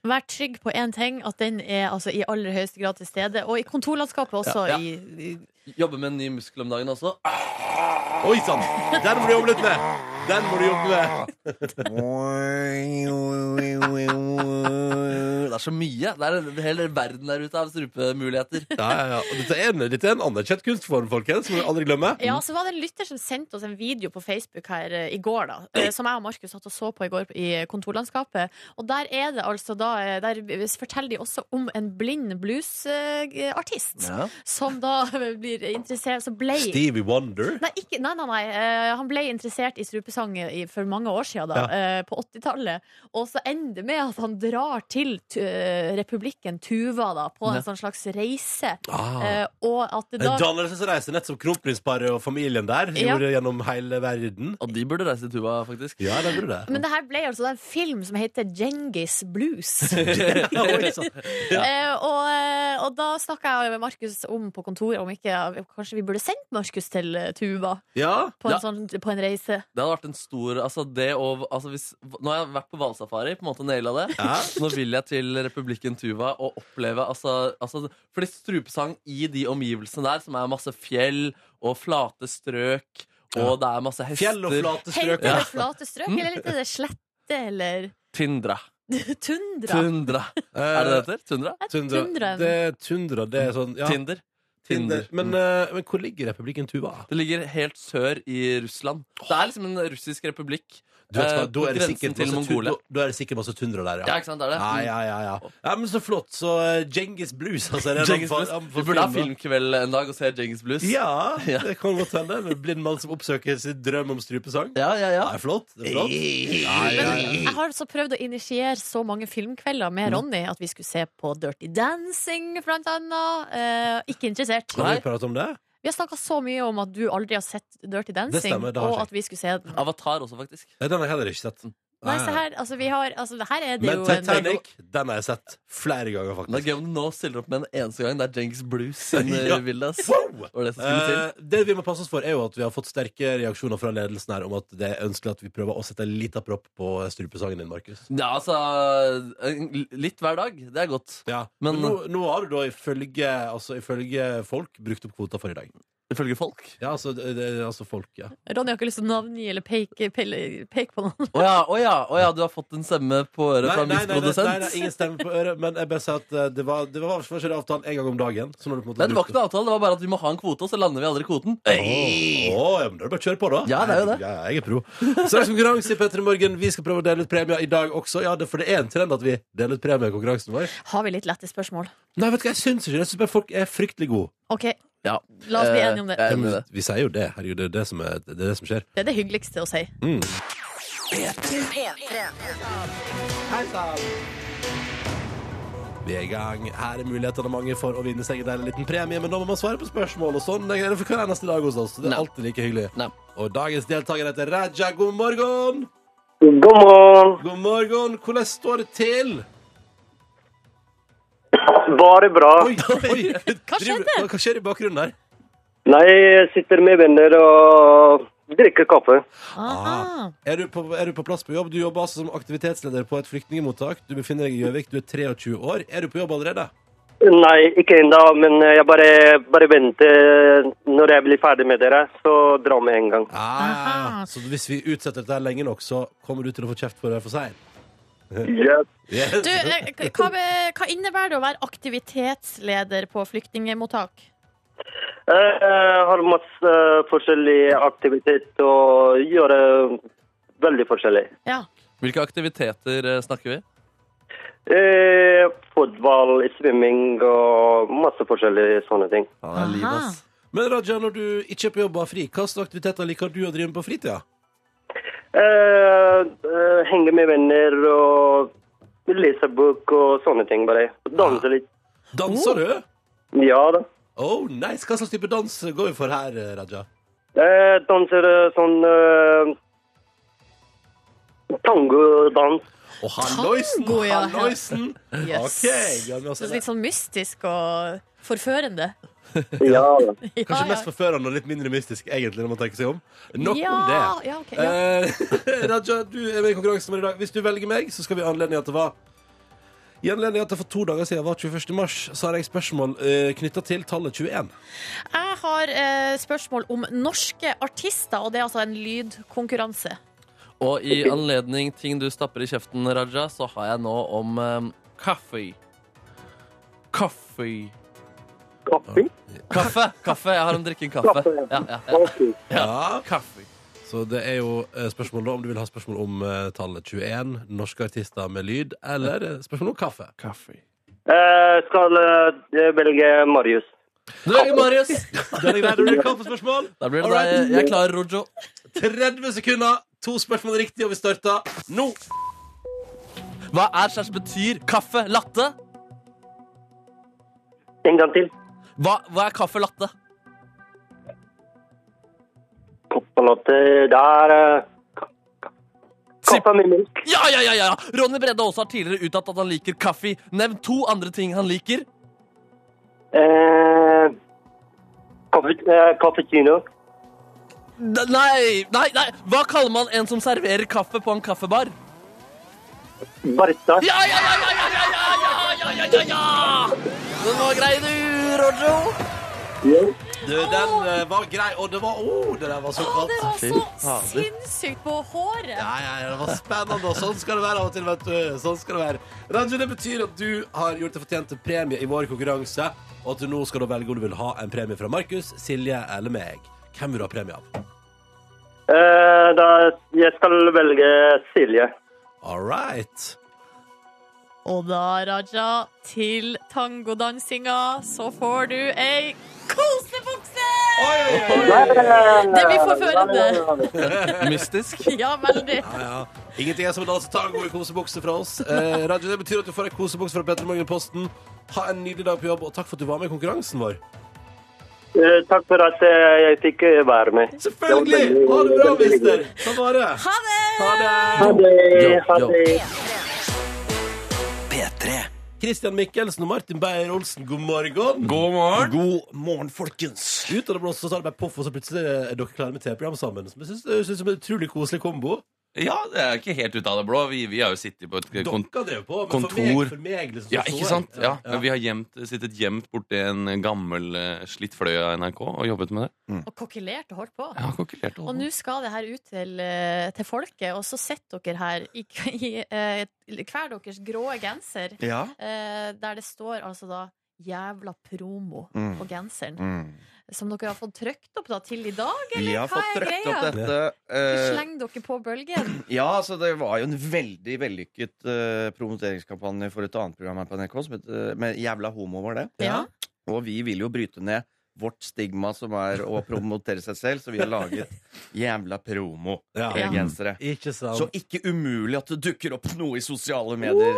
Vær trygg på én ting, at den er altså, i aller høyeste grad til stede. Og i kontorlandskapet også. Ja, ja. I, i, Jobber med en ny muskel om dagen også. Oi sann! Den må du jobbe litt med! Den må du jobbe med! det er så mye. Det er en hel verden der ute av strupemuligheter. Ja, ja, ja. Og Dette er en, dette er en anerkjent kunstform, folkens. Må vi aldri glemme. Ja, så var det en lytter som sendte oss en video på Facebook her eh, i går, da. eh, Som jeg og Markus satt og så på i går i kontorlandskapet. Og der er det altså da eh, Der forteller de også om en blind bluesartist. Ja. Som da eh, blir interessert Som ble Stevie Wonder. Nei, ikke, nei, nei, nei. eh, han ble interessert i strupesang i, for mange år siden, da, Ja. eh, på 80-tallet. Og så ender det med at han drar til tu, eh, republikken Tuva da, på Ja. en sånn slags reise. Ah. Eh, og at det da En dannelsesreise, nett som kronprinsparet og familien der Ja. gjorde gjennom hele verden. Og de burde reise til Tuva, faktisk. Ja, det burde det. Men det her ble altså en film som heter Genghis Blues. Oi, sånn. sant. Mm. ja. Eh, og, eh, og da snakka jeg med Markus om på kontoret om ikke ja, Kanskje vi burde sendt Markus til eh, Tuva ja. på en, Ja. sånn, på en reise? Det hadde vært en stor altså det og, altså hvis, Nå har jeg vært på hvalsafari, på en måte naila det. Ja. Nå vil jeg til republikken Tuva og oppleve altså, altså, Fordi strupesang i de omgivelsene der, som er masse fjell og flate strøk, og det er masse hester Fjell og flate strøk. Helt Ja. er det flate strøk, eller litt er det slette, eller Tundra. tundra? Tundra. Er det det heter? Tundra? Jeg tror Tundra. tundraen. Det, er tundra, det er sånn ja. Tinder. Tinder. Men, Mm. eh, men hvor ligger republikken Tuva? det ligger helt sør i Russland. Det er liksom en russisk republikk. Du vet, hva, da, eh, på er det grensen sikkert til masse tun- Mongolia. da- da er det sikkert masse tundra der, Ja, ja. ikke sant? Det er det? Ja, ja, ja, ja. ja men så flott. Så eh, Genghis Blues, altså. Er det Genghis anbefal- Blues. anbefalt Vi burde ha film, da? filmkveld en dag og se Jengis Blues. Ja, Ja. det kan godt hende. En blind mann som oppsøker sin drøm om strupesang. ja, ja. ja. Det er flott. Det er flott. Men jeg har altså prøvd å initiere så mange filmkvelder med Mm. Ronny at vi skulle se på Dirty Dancing, blant annet. Eh, ikke interessert. Kan vi prate om det? Vi har snakka så mye om at du aldri har sett Dirty Dancing, stemmer, det har og jeg ikke. at vi skulle se den. Avatar også, faktisk. Nei, Den har jeg heller ikke sett. Nei, se her. Altså, vi har altså, Her er det Ah, Men jo en- Titanic den har jeg sett flere ganger, Det er faktisk. gøy om du nå stiller opp med en eneste gang. Det er Jengis Blues sin Ja. ja. Vildas. Wow! Var det som skulle til? Eh, det vi må passe oss for, er jo at vi har fått sterke reaksjoner fra ledelsen her om at det er ønskelig at vi prøver å sette en liten propp på strupesangen din, Markus. Ja, altså en- Litt hver dag. Det er godt. Ja. Men, Men- nå, nå har du da ifølge, altså, ifølge folk brukt opp kvota for i dag. Ifølge folk. Ja, altså, det, det, altså folk, ja. Ronny har ikke lyst til å navngi eller peke, pele- peke på noen. Å ja, å ja, å ja, du har fått en stemme på øret fra en viss nei, nei, nei, produsent? nei, ingen stemmer på øret, men jeg bare sier at eh, det var, det var, var ikke det avtalen en gang om dagen. Så når du på en måte Nei, det var brukte- ikke noe avtale. Det var bare at vi må ha en kvote, og så lander vi aldri i kvoten. Åh, åh, ja, men da er det bare å kjøre på, da. Ja, det er jo det. Ja, jeg er pro. Straks konkurranse i Petter i morgen. Vi skal prøve å dele ut premier i dag også. Ja, det, for det er en trend at vi deler ut premier i konkurransen vår. Har vi litt lette spørsmål? Nei, vet du hva, jeg syns ikke det. Jeg syns bare folk er fryktelig gode. OK, Ja. la oss bli Eh, enige om det. jeg er Ja, enig i men det. vi sier jo det. Herregud, det er det som, er, det, er det som skjer. Det er det hyggeligste å si. Mm. Vi er i gang. Her er mulighetene mange for å vinne seg en deilig liten premie, men da må man svare på spørsmål og sånn. Det er det for hver eneste dag hos oss. Det er Nei. alltid like hyggelig. Nei. Og dagens deltaker heter Raja. God morgen! God morgen. God morgen! Hvordan står det til? Bare bra. Oi, oi! Hva skjedde? Hva skjer i bakgrunnen der? Nei, jeg sitter med venner og drikker kaffe. Aha. Er du, på, er du på plass på jobb? Du jobber altså som aktivitetsleder på et flyktningmottak. Du befinner deg i Gjøvik, du er 23 år. Er du på jobb allerede? Nei, ikke ennå, men jeg bare, bare venter når jeg blir ferdig med dere, så dra med en gang. Ah, så hvis vi utsetter dette her lenge nok, så kommer du til å få kjeft for det for seint? Yes. Du, eh, k- hva, be- hva innebærer det å være aktivitetsleder på flyktningmottak? Jeg Eh, har masse eh, forskjellig aktivitet og gjør eh, veldig forskjellig. Ja. Hvilke aktiviteter eh, snakker vi? Eh, Fotball, svømming og masse forskjellige sånne ting. Ja, det Ah, er liv, Aha. ass. Men Raja, når du ikke er på jobb og har fri, hva slags aktiviteter liker du å drive med på fritida? Eh, eh, henge med venner og lese bok og sånne ting bare. Danse litt. Ah, Oh. Danser du? Ja da. Oh, nice. Hva slags type dans går vi for her, Raja? Jeg danser eh, sånn eh, tangodans. Og halloisen! Tango, ja. Halloisen! Yes. OK, vi har med oss Så det. litt sånn mystisk og forførende. Ja da. Ja, Kanskje mest ja. forførende og litt mindre mystisk, egentlig, når man tenker seg om. Nok om det. Ja, ja, ok, ja. Eh, Raja, du er med i konkurransen vår i dag. Hvis du velger meg, så skal vi anledning at det var i anledning at det for to dager siden var 21. mars, så har jeg spørsmål uh, knytta til tallet 21. Jeg har eh, spørsmål om norske artister, og det er altså en lydkonkurranse. Og i anledning ting du stapper i kjeften, Raja, så har jeg nå om eh, Kaffe. Kaffe. Kaffe? Kaffe! Kaffe, Jeg har en drikken kaffe. Kaffe, Ja, ja, ja. Ok. Ja. Kaffe. Så det er jo eh, spørsmål da om du vil ha spørsmål om eh, tallet 21, norske artister med lyd, eller eh, spørsmål om kaffe. Kaffe. Eh, skal eh, velge Marius. Du velger Marius. Da er det greit, da blir det kaffespørsmål. Da blir det Alright. deg. Jeg klarer Rojo. 30 sekunder, to spørsmål riktig, og vi starter nå. Hva er slags betyr kaffe latte? En gang til. Hva, hva er kaffe latte? Koppelatte der eh, Kaffe med melk. Ja, ja, ja, ja! Ronny Bredde også har tidligere uttalt at han liker kaffe. Nevn to andre ting han liker. Eh, kaffe, eh, cappuccino. D nei, nei, nei! Hva kaller man en som serverer kaffe på en kaffebar? Barista. Ja, ja, ja, ja, ja, ja, ja, ja, ja, ja, ja! Den var grei, du, Rojo. Du, den eh, var grei, og det var Å, det der var så Å, godt. det var Fy så fader. sinnssykt på håret! Ja, ja, ja, det var spennende, og sånn skal det være av og til, vet du. Sånn skal det være. Ranju, det betyr at du har gjort deg fortjent til premie i vår konkurranse, og at du nå skal da velge om du vil ha en premie fra Markus, Silje eller meg. Hvem vil du ha premie av? Eh, da, jeg skal velge Silje. All right. Og da, Raja, til tangodansinga så får du ei kosebukse! Det blir forførende. Mystisk. Ja, veldig. Ja, ja. Ingenting er som en dans tango i kosebukse fra oss. Eh, Radio, det betyr at du får ei kosebukse fra Petter Morgen i Posten. Ha en nydelig dag på jobb, og takk for at du var med i konkurransen vår. Eh, takk for at eh, jeg fikk eh, være med. Selvfølgelig! Ha det bra, mister! Sånn var det. Ha det! Ha Ha det! det. Ja, Ha ja. det. Christian Mikkelsen og Martin Beyer-Olsen, god morgen. God morgen. God morgen, folkens. Ut av det blå så tar det bare poff, og så plutselig er dere klare med TV-program sammen. Som jeg syns syns det er en utrolig koselig kombo. Ja, det er ikke helt ut av det blå. Vi, vi har jo sittet på et kont... Dere drev på, men kontor. for meg, for meg liksom, så Ja, så ikke jeg. sant? ja. Ja, men Vi har gjemt, sittet gjemt borti en gammel eh, slitt fløy av NRK og jobbet med det. Og kokkelert og holdt på. Jeg har kokkelert Og nå skal det her ut til, eh, til folket, og så sitter dere her i, i eh, hver deres grå genser, Ja. eh, der det står altså da 'Jævla promo' på genseren. Mm. Som dere har fått trykt opp da til i dag, eller Vi har hva fått er trøkt greia? opp dette. eh, Slenger dere på bølgen? ja, altså Det var jo en veldig vellykket eh, promoteringskampanje for et annet program her på NRK som het eh, med Jævla homo, var det. Ja. Og vi vil jo bryte ned vårt stigma, som er å promotere seg selv, så vi har laget Jævla promo. Ja. eh, Gensere. Ikke sant? Så ikke umulig at det dukker opp noe i sosiale medier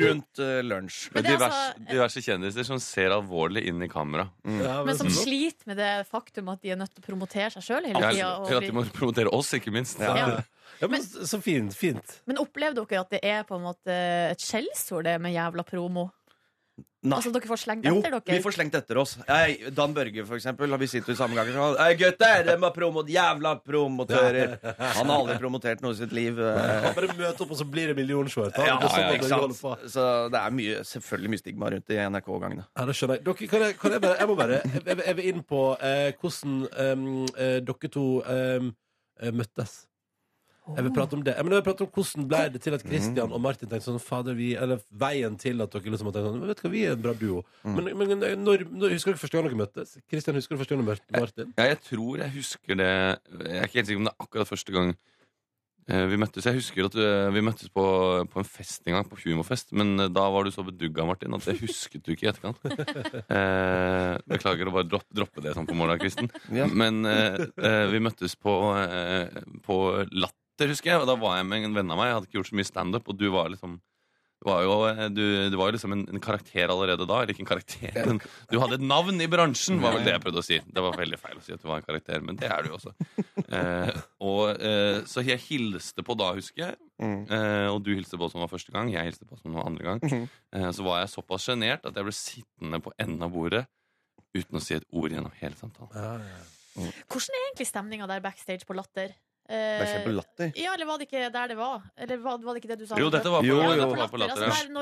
rundt eh, lunsj. Men det er diverse, altså- diverse kjendiser som ser alvorlig inn i kamera. Mm. ja, Men som så- sliter med det faktum at de er nødt til å promotere seg sjøl hele Ja, tida. for at de må promotere oss, ikke minst. Ja. ja. ja, men så så fint. Fint. Men opplever dere at det er på en måte et skjellsord, det med jævla promo? Nei. Altså dere får slengt Jo, etter vi dere? får slengt etter oss. Ei, Dan Børge, for eksempel. Vi sitter jo i samme gang. og sånn, Ei, gutter! De er promo jævla promotører! Han har aldri promotert noe i sitt liv. eh. Bare møte opp, og så blir det millionshort. Ja, det er sånn ja, at ikke dere holder på. sant? Så det er mye, selvfølgelig mye stigma rundt i NRK-gangene. Ja, det skjønner jeg. Dere, kan jeg, kan jeg, bare, jeg må bare Jeg, jeg, jeg vil inn på eh, hvordan em, eh, dere to em, eh, møttes. Jeg vil prate om det. Jeg, men jeg vil prate om hvordan ble det til at Mm. Christian og Martin tenkte sånn Fader, vi Eller veien til at dere liksom har tenkt sånn "Men Vet du hva, vi er en bra duo. Mm. Men, men når, når, husker dere første gang dere møttes? Christian, husker du første gang du møtte Martin? Ja, jeg tror jeg husker det Jeg er ikke helt sikker om det er akkurat første gang eh, vi møttes. Jeg husker at eh, vi møttes på, på en fest en gang, på humorfest. Men eh, da var du så bedugga, Martin, at det husket du ikke i etterkant. Eh, beklager å bare droppe, droppe det sånn på morgenkvisten. Ja. Men eh, eh, vi møttes på, eh, på Latter, husker jeg. Og da var jeg med en venn av meg. Jeg hadde ikke gjort så mye standup, og du var liksom var jo, eh, du, du var jo liksom en, en karakter allerede da. Eller ikke en karakter, men du hadde et navn i bransjen, var vel det jeg prøvde å si. Det var veldig feil å si at du var en karakter, men det er du jo også. Eh, og, eh, så jeg hilste på da, husker jeg. Mm. Eh, og du hilste på som var første gang, jeg hilste på som var andre gang. Mm-hmm. Eh, så var jeg såpass sjenert at jeg ble sittende på enden av bordet uten å si et ord gjennom hele samtalen. Ja, ja. Hvordan er egentlig stemninga der backstage på Latter? Det er på Eh, latter. ja, eller var det ikke der det var? Eller var, var det ikke det du sa? Jo, dette var på, Jo, ja, jo. dette var på Latter, latter. altså der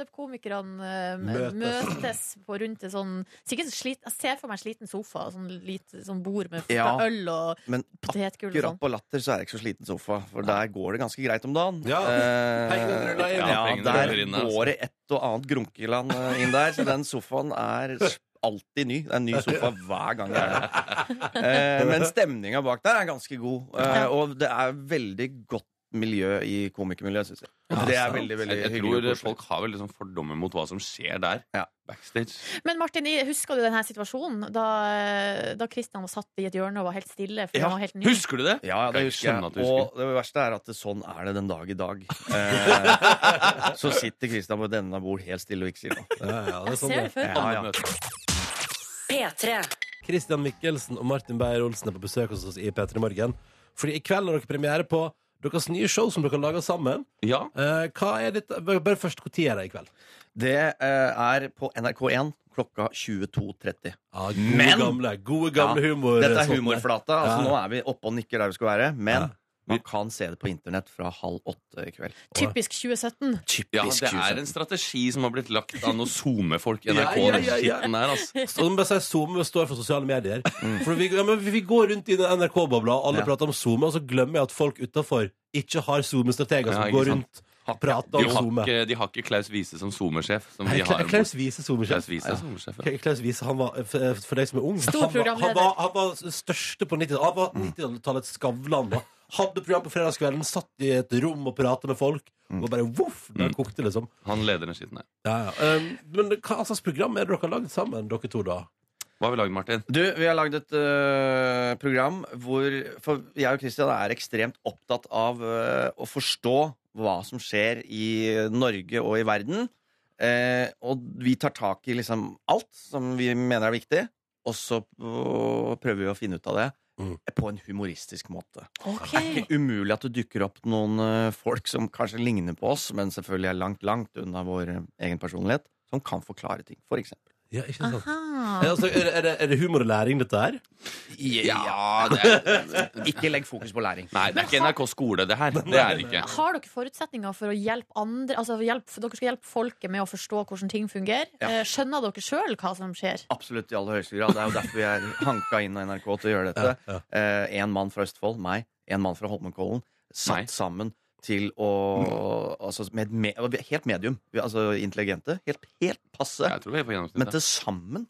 når standup-komikerne eh, Møtes. møtes. på rundt en sånn Sikkert slit, Jeg ser for meg en sliten sofa, sånn, lite, sånn bord med Ja. øl og Men potetgull og akkurat sånn. på latter så er jeg ikke så sliten sofa, for der går det ganske greit om dagen. Ja. Eh, Pengene ruller inn. ja, Pengene der ruller inn, altså. går det et og annet grunkeland eh, inn der, så den sofaen er s- alltid ny. Det er en ny sofa hver gang jeg er der. Eh, men stemninga bak der er ganske god, eh, og det er veldig godt miljø i komikermiljøet, syns jeg. Det er veldig, veldig Jeg, jeg hyggelig. og tror koselig. folk har veldig sånn fordommer mot hva som skjer der. Ja. Backstage. Men Martin, i- husker du denne situasjonen da, eh, da Christian var satt i et hjørne og var helt stille? For Ja. han var helt ny. Husker du det? Ja, ja, Kan det ikke husker jeg. skjønne at du Og det verste er at det- sånn er det den dag i dag. Eh, så sitter Kristian på denne bord helt stille og ikke sier noe. Ja, ja, det er Jeg sånn ser det. det før. Ja, ja. P3. Christian Mikkelsen og Martin Beyer-Olsen er på besøk hos oss i P3 Morgen. Fordi i kveld har dere premiere på deres nye show som dere lager sammen. Ja. Eh, hva er dette? Bare først, når er det i kveld? Det eh, er på NRK1 klokka 22.30. Ja, gode Men- gamle, gode gamle humor. Dette er sånn. humorflata. Altså, Ja. nå er vi oppe og nikker der vi skal være. Men Ja. man kan se det på internett fra halv åtte i kveld. Typisk 2017. ja, Typisk det er en strategi som har blitt lagt av noen SoMe-folk i NRK. Ja, den ja, ja, ja. skitten der, altså. Så må jeg si Zoom står for sosiale medier. Mm. For vi, ja, men vi vi går rundt i den NRK-bobla, og alle Ja. prater om Zoom, og så glemmer jeg at folk utafor ikke har Zoom-strateger som Ja, ikke går sant. rundt og prater De om har, Zoom. ikke, eh, de har ikke Klaus Wiese som SoMe-sjef. Som Nei, vi Kla- har Klaus Wiese, Zoom-sjef. Klaus Wiese er SoMe-sjef. Ja. K- Klaus Wiese, han var, f- for deg som er ung Stor han, var, han, programleder. var, han var største på 90-tallet. Han var 90-tallets Skavlan. da. Hadde program på fredagskvelden, satt i et rom og pratet med folk. Og bare voff! Der kokte, liksom. Han leder den skitten der. Mm. Ja, ja. Um, men hva slags program er det dere har lagd sammen, dere to, da? Hva har vi lagd, Martin? Du, vi har lagd et øh, program hvor For jeg og Christian er ekstremt opptatt av øh, å forstå hva som skjer i Norge og i verden. Eh, og vi tar tak i liksom alt som vi mener er viktig, og så øh, prøver vi å finne ut av det Mm. på en humoristisk måte. Ok. Det er umulig at det dukker opp noen øh, folk som kanskje ligner på oss, men selvfølgelig er langt, langt unna vår øh, egen personlighet, som kan forklare ting, for eksempel. Ja, ikke sant? Aha. Eh, Altså, er, det- er, det, er det humor og læring, dette her? Ja, det er, Ikke legg fokus på læring. Nei, det er ikke NRK skole, det her. Det er det ikke. Har dere forutsetninger for å hjelpe andre Altså hjelp, Dere skal hjelpe folket med å forstå hvordan ting fungerer. Ja. Eh, Skjønner dere sjøl hva som skjer? Absolutt i aller høyeste grad. Det er jo derfor vi er hanka inn av NRK til å gjøre dette. Ja, ja. Eh, en mann fra Østfold, meg, en mann fra Holmenkollen, satt Meg. sammen til å altså, med, med, og vi er Helt medium. Vi er Altså intelligente. Helt, helt passe. Jeg tror vi er på Men gjennomsnittet. til sammen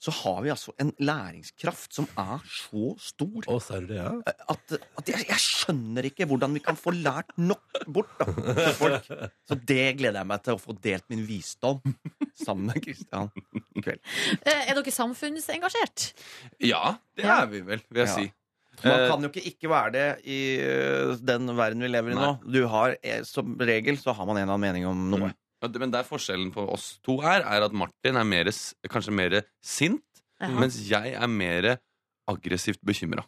så har vi altså en læringskraft som er så stor Eh, Å, sier du det, ja? at, at jeg, jeg skjønner ikke hvordan vi kan få lært nok bort da, til folk. Så det gleder jeg meg til å få delt min visdom sammen med Kristian i kveld. Eh, Er dere samfunnsengasjert? Ja, det Ja. er vi vel, vil jeg Ja. si. Man Eh, kan jo ikke ikke være det i ø, den verden vi lever i nå. Du har, eh, Som regel så har man en eller annen mening om noe. Mm. Ja, det- Men der forskjellen på oss to er, er at Martin er mer, s- kanskje mer sint, Jaha. mens jeg er mer aggressivt bekymra.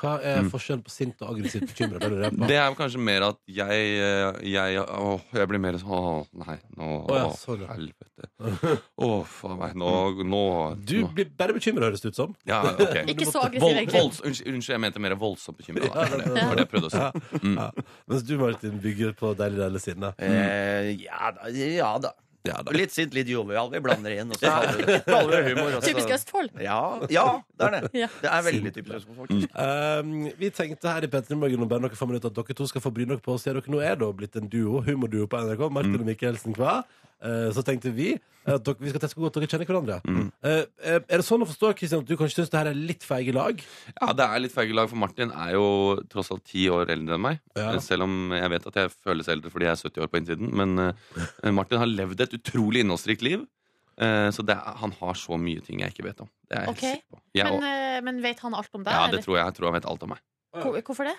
Hva er Mm. forskjellen på sint og aggressivt bekymra? Det lurer jeg på. Det er kanskje mer at jeg, eh, jeg Åh, jeg blir mer sånn Åh, nei, nå Å ja, åh, sorry. Helvete. Åh, faen meg. Nå, nå, Du nå. blir bare bekymra, høres det ut som. Ja, ok. Ikke så aggressiv, Vold, egentlig. volds, unnskyld, unnskyld, jeg mente mer voldsomt bekymra. Ja, Det var det ja. var det jeg prøvde å si. Mm. Ja. Mens du, Martin, bygger på deilig, deilig sinne. Eh, ja da. Ja, da. Ja, da. Litt sint, litt jovial. Vi blander inn. Og så kaller vi- kaller vi det humor. altså. og så- Typisk Østfold. Ja, ja, det er det. Ja. Det er veldig typisk Østfold, Mm. faktisk. Um, vi tenkte her i Petter i morgen om bare noen få minutter at dere to skal få bry dere på å se dere. Nå er da blitt en duo, humorduo på NRK. Martin Mm. og Mikkelsen hver. Eh, så tenkte vi at dere, vi skal teste hvor godt dere kjenner hverandre. Mm. Eh, eh, er det sånn å forstå Kristian, at du kanskje syns det her er litt feige lag? Ja, det er litt feige lag, for Martin er jo tross alt ti år eldre enn meg. Ja. Selv om jeg vet at jeg føles eldre fordi jeg er 70 år på innsiden. Men eh, Martin har levd et utrolig innholdsrikt liv. Eh, så det er, han har så mye ting jeg ikke vet om. Det er jeg Ok. helt sikker på. Jeg, Men, og- eh, men vet han alt om deg? ja, det eller? tror jeg. Jeg tror han vet alt om meg. Hvor- Hvorfor det?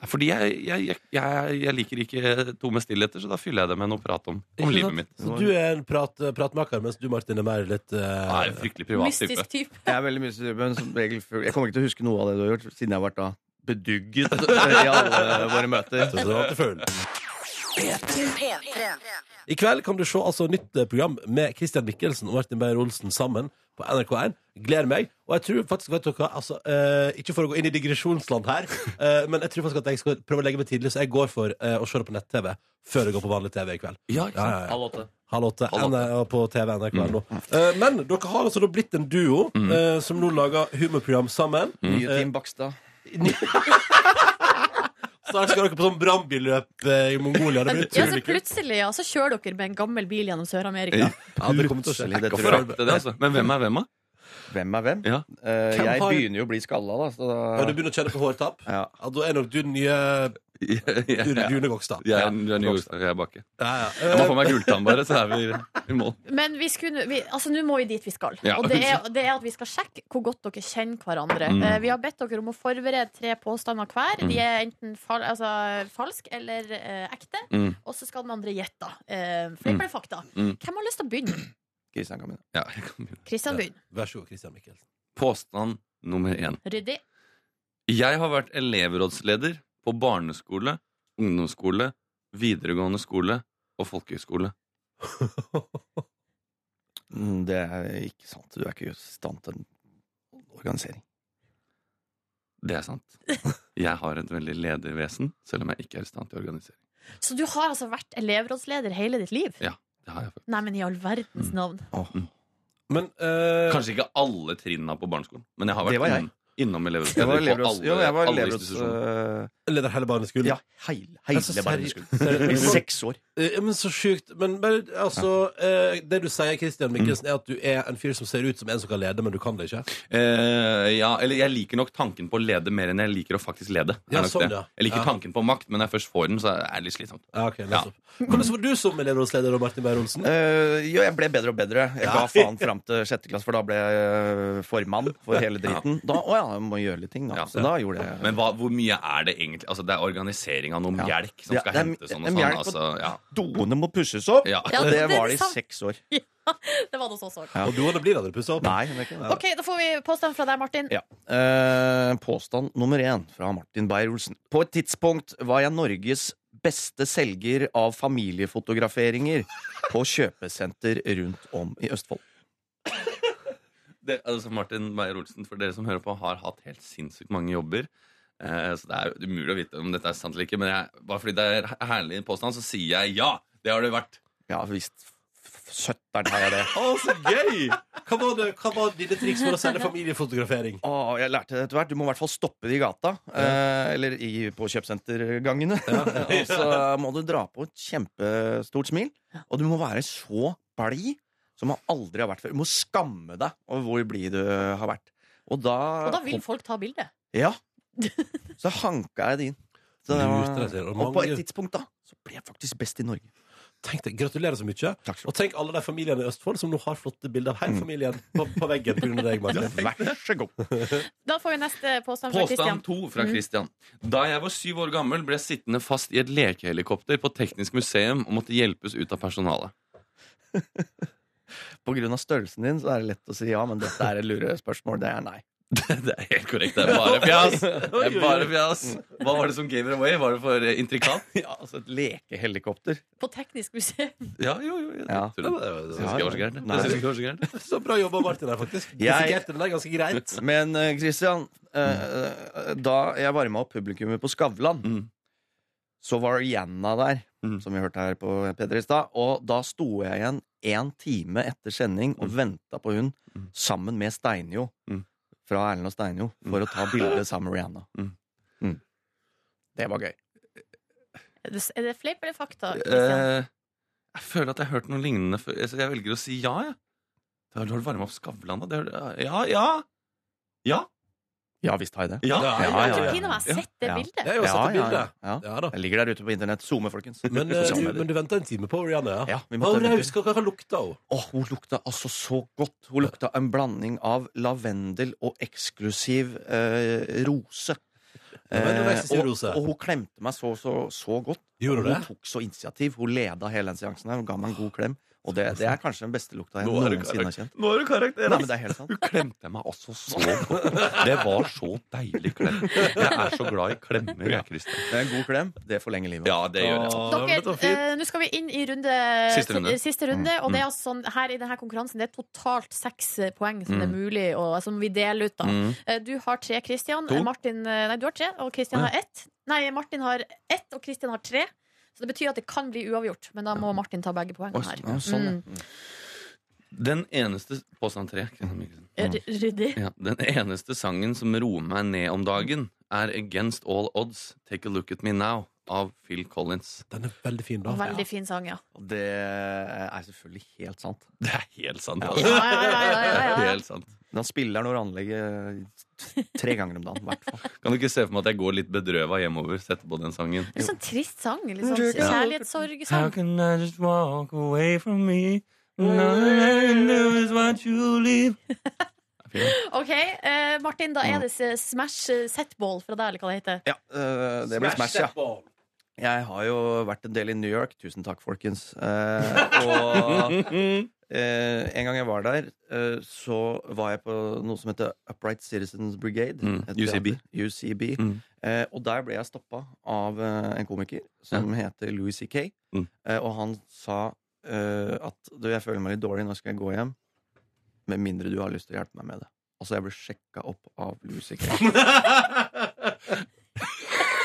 Nei, Fordi jeg, jeg, jeg, jeg, jeg liker ikke tomme stillheter, så da fyller jeg det med noe prat om, om Ikke livet sant? mitt. Så du er en prat, eh, pratmaker, mens du, Martin, er mer litt eh, Jeg er en fryktelig privat type. Mystisk type. Jeg er veldig mye sur, men som regel full. Jeg kommer ikke til å huske noe av det du har gjort, siden jeg har vært da bedugget i alle våre møter. Så det var til full. I kveld kan du se altså nytt eh, program med Christian Mikkelsen og Martin Beyer-Olsen sammen på NRK1. Gleder meg. Og jeg tror faktisk, vet dere, hva, altså, eh, ikke for å gå inn i digresjonsland her, eh, men jeg tror faktisk at jeg skal prøve å legge meg tidlig, så jeg går for eh, å se det på nett-TV før jeg går på vanlig TV i kveld. Ja, ikke sant? ja, ja. Halv åtte. Halv åtte Halv åtte. Mm. N- eh, på TV NRK nå. Eh, men dere har altså da blitt en duo eh, som nå lager humorprogram sammen. Mm. Eh, Nye Team Bakstad. Snart skal dere på sånn brannbilløp eh, i Mongolia. Det blir Ja, så utrolig kult. plutselig ja, så kjører dere med en gammel bil gjennom Sør-Amerika. Ja, det kommer til å skje. Plutselig, det Jeg tror jeg. forventer Det er det, altså. Men hvem er hvem, da? Hvem er hvem? Ja. Eh, Hvem jeg har- begynner jo å bli skalla, da. Så Ja, du da... begynner å kjenne på hårtap? Ja. Ja, da er nok du den nye Jeg du- er- Rune Gokstad. jeg er ny godstad. Jeg er baki. Ja, ja. Jeg må Eh, få meg gulltann, bare, så er vi i mål. Men vi skulle, vi, altså, nå må vi dit vi skal. Ja. Og det er, det er at vi skal sjekke hvor godt dere kjenner hverandre. Mm. Eh, vi har bedt dere om å forberede tre påstander hver. De er enten fal altså, falsk eller eh, ekte. Mm. Og så skal den andre gjette. Eh, Fleip eller fakta. Mm. Hvem har lyst til å begynne? Kristian kan begynne. Ja, jeg kan begynne. Kristian, begynn. Vær så god, Christian Mikkelsen. Påstand nummer én. Ryddig. Jeg har vært elevrådsleder på barneskole, ungdomsskole, videregående skole og folkehøyskole. Mm, Det er ikke sant. Du er ikke i stand til organisering. Det er sant. Jeg har et veldig ledervesen, selv om jeg ikke er i stand til å organisere. Så du har altså vært elevrådsleder hele ditt liv? Ja, det har jeg faktisk. Mm. Nei, men i all verdens navn. Men eh, Kanskje ikke alle trinna på barneskolen, men jeg har vært Det var jeg. inn- innom Jeg var elevrådsleder på elevråds... alle, Jo, jeg var alle elevråds... institusjoner. leder hele barneskolen? Ja, hele, hele Altså, seri- barneskolen. seri- I seks år. Eh, men så sjukt. Men bare, altså eh, Det du sier, Christian Mikkelsen, er at du er en fyr som ser ut som en som kan lede, men du kan det ikke? Eh, ja, eller jeg liker nok tanken på å lede mer enn jeg liker å faktisk lede. er Ja, nok sånn, det. ja. Jeg liker Ja. tanken på makt, men når jeg først får den, så er det litt slitsomt. Ja, ok, Ja. nettopp. Hvordan var du som elevrådsleder, da, Martin Beyer-Olsen? Eh, jo, jeg ble bedre og bedre. Jeg ga faen fram til sjette klasse, for da ble jeg eh, formann for hele driten. Da, å ja, jeg må gjøre litt ting, Ja. da. Så da gjorde jeg Men hva, hvor mye er det egentlig? Altså, det er organisering av noe Ja. mjelk som Ja, skal det er hentes sånn en og sånn. mjelk på- Altså, ja. Doene må pusses opp! Ja. Ja, Og det det var det i sant. seks år. Det var det hos oss også. Ja. Og doene blir aldri pussa opp? Nei, det er ikke det. OK, da får vi påstand fra deg, Martin. Ja. Eh, påstand nummer én fra Martin Beyer-Olsen. På et tidspunkt var jeg Norges beste selger av familiefotograferinger på kjøpesenter rundt om i Østfold. Det, altså Martin Beyer-Olsen, for dere som hører på, har hatt helt sinnssykt mange jobber. Eh, så det er umulig å vite om dette er sant eller ikke, men jeg, bare fordi det er en herlig påstand, så sier jeg ja! Det har det vært. Ja visst. f- Søtteren har jeg det. Å, så gøy! Hva var, det, hva var dine triks for å selge familiefotografering? Å, jeg lærte det etter hvert. Du må i hvert fall stoppe det i gata. Eh, eller i, på kjøpesentergangene. og så må du dra på et kjempestort smil. Og du må være så blid som man aldri har vært før. Du må skamme deg over hvor blid du har vært. Og da, Og da vil folk ta bilde. Ja. Så hanka jeg det inn. Så det var- Lurte deg til, og og på mange- et tidspunkt da så ble jeg faktisk best i Norge. Tenk deg, Gratulerer så mye. Takk skal Og tenk alle de familiene i Østfold som nå har flotte bilder av hele familien på, på veggen pga. deg, du Martin. ha. Vær så god. Da får vi neste påstand fra Mm. Kristian. Påstand to Mhm. fra Christian. Da jeg var syv år gammel, ble jeg sittende fast i et lekehelikopter på Teknisk museum og måtte hjelpes ut av personalet. På grunn av størrelsen din så er det lett å si ja, men dette er et lure spørsmål. Det er nei. Det er helt korrekt. Det er bare fjas! Det er bare fjas. Hva var det som gave it away? Var det for eh, intrikat? Ja, altså et lekehelikopter. På Teknisk museum. Ja, jo, jo. Jeg Ja. tror det. Jeg synes ikke det var så gærent. Nei. Jeg synes ikke det var så gærent. Så bra jobba, Martin, her, faktisk. Du Jeg- Dissekerte den der ganske greit. Men eh, Christian, eh, eh, da jeg varma opp publikummet på Skavlan, Mm. så var Rihanna der, Mm. som vi hørte her på P3 i stad. Og da sto jeg igjen én time etter sending og venta på hun Mm. sammen med Steinjo. Mm. Fra Erlend og Steinjo, for å ta bilde sammen med Rihanna. Mm. Mm. Det var gøy. Er det- Er det fleip eller fakta? Kristian? Eh, jeg føler at jeg har hørt noe lignende før, så jeg velger å si ja, jeg. Da har du varma opp Skavlan, da. Det har du- Ja, ja! Ja! Ja visst har jeg det. ja. Ja, Jeg ja, har ja, ikke ja. pinadø meg sett det Ja. Det bildet. er jo å sette ja, ja, bilde. ja. Ja da. Jeg ligger der ute på internett. Zoome, folkens. Men, eh, Sosiale du, medier. men du venta en time på Rihanna, ja? Ja, vi Hva måtte vente. raus- hva- hva- hva lukta hun? Åh, hun lukta altså så godt. Hun lukta en blanding av lavendel og eksklusiv eh, rose. Ja, men det var eksklusiv Eh, og, rose. og hun klemte meg så, så, så godt. Gjorde Og hun hun det? tok så initiativ. Hun leda hele den seansen her. Hun ga meg en god klem. Og det, det er kanskje den beste lukta jeg Nå er du noensinne har kjent. Nå er du karakter! Nei, men det er helt sant. Du klemte meg altså så godt. Det var så deilig klem. Jeg er så glad i klemmer, jeg, Christian. Det er en god klem. Det forlenger livet. Ja, det gjør jeg. Dere, eh, nå skal vi inn i runde Siste runde. Mm, si- siste runde, og det er altså sånn, her i denne konkurransen Det er totalt seks eh, poeng som det er mulig å, som vi deler ut. da Mm. Eh, Du har tre, Christian. To. Eh, Martin, eh, nei, du har tre, og Christian har ett. Nei, Martin har ett, og Christian har tre. Så det betyr at det kan bli uavgjort, men da må Martin ta begge poengene Oi, her. Mm. ja, sånn, Den eneste Påstand tre. Christian Mikkelsen. Mm. Eh, Ryddig. Ja, den eneste sangen som roer meg ned om dagen, er Against All Odds, Take a Look at Me Now av Phil Collins. Den er veldig fin, da. Veldig fin sang, ja. Og det eh, er selvfølgelig helt sant. Det er helt sant. Ja, Altså. ja, ja, ja, Det ja, er ja. helt sant. Men han spiller når anlegget tre ganger om dagen, i hvert fall. Kan du ikke se for meg at jeg går litt bedrøva hjemover, setter på den sangen? Litt sånn trist sang. Litt sånn kjærlighetssorgsang. can I just walk away from me? Nothing I can do is what you leave. OK, eh, Martin, da er det s- Smash eh, Setball fra deg, eller hva det heter. Ja, Eh, øh, det blir smash, ja. Jeg har jo vært en del i New York. Tusen takk, folkens. Eh, og eh, en gang jeg var der, eh, så var jeg på noe som heter Upright Citizens Brigade. Mm, et UCB. teater. UCB. Mm. Eh, og der ble jeg stoppa av eh, en komiker som heter Louis C.K. Mm. Eh, og han sa eh, at du, jeg føler meg litt dårlig, nå skal jeg gå hjem. Med mindre du har lyst til å hjelpe meg med det. Altså, jeg ble sjekka opp av Louis C.K.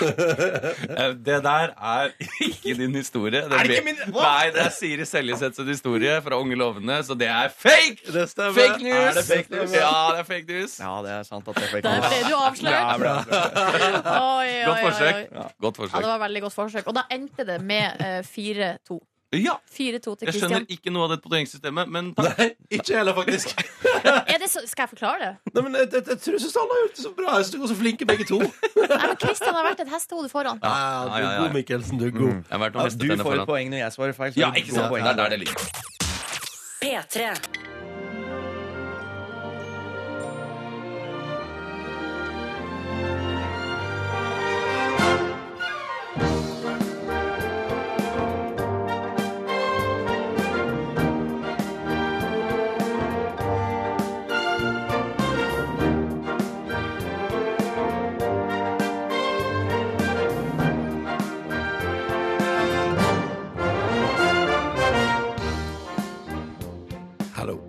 Eh, Det der er ikke din historie. Det er ikke min Nei, det er Siri Seljeseth sin historie fra Unge lovende, så det er fake! Fake news! Er det fake news? Ja, det er fake news. Ja, det er sant at jeg fikk Der ble du avslørt. Oi, oi, Godt oi, oi. forsøk. Godt Ja, det forsøk. var veldig godt forsøk. Og da endte det med eh, 4-2. Ja, 4-2 til jeg skjønner Christian. ikke noe av dette poengsystemet, men takk. Nei, ikke heller, faktisk. Er det så, skal jeg forklare det? Nei, men jeg, jeg, jeg tror Susanne har gjort det så bra. Jeg synes dere er så flinke, begge to. Nei, men Christian har vært et hestehode foran. Ja, du ja, er ja. god, Mikkelsen. Du er god. Jeg har vært og mistet Ja, Altså, du denne får et foran. poeng når jeg svarer feil. så Ja, du ikke får sant? poeng. Det er der det ligger. P3. Hallo.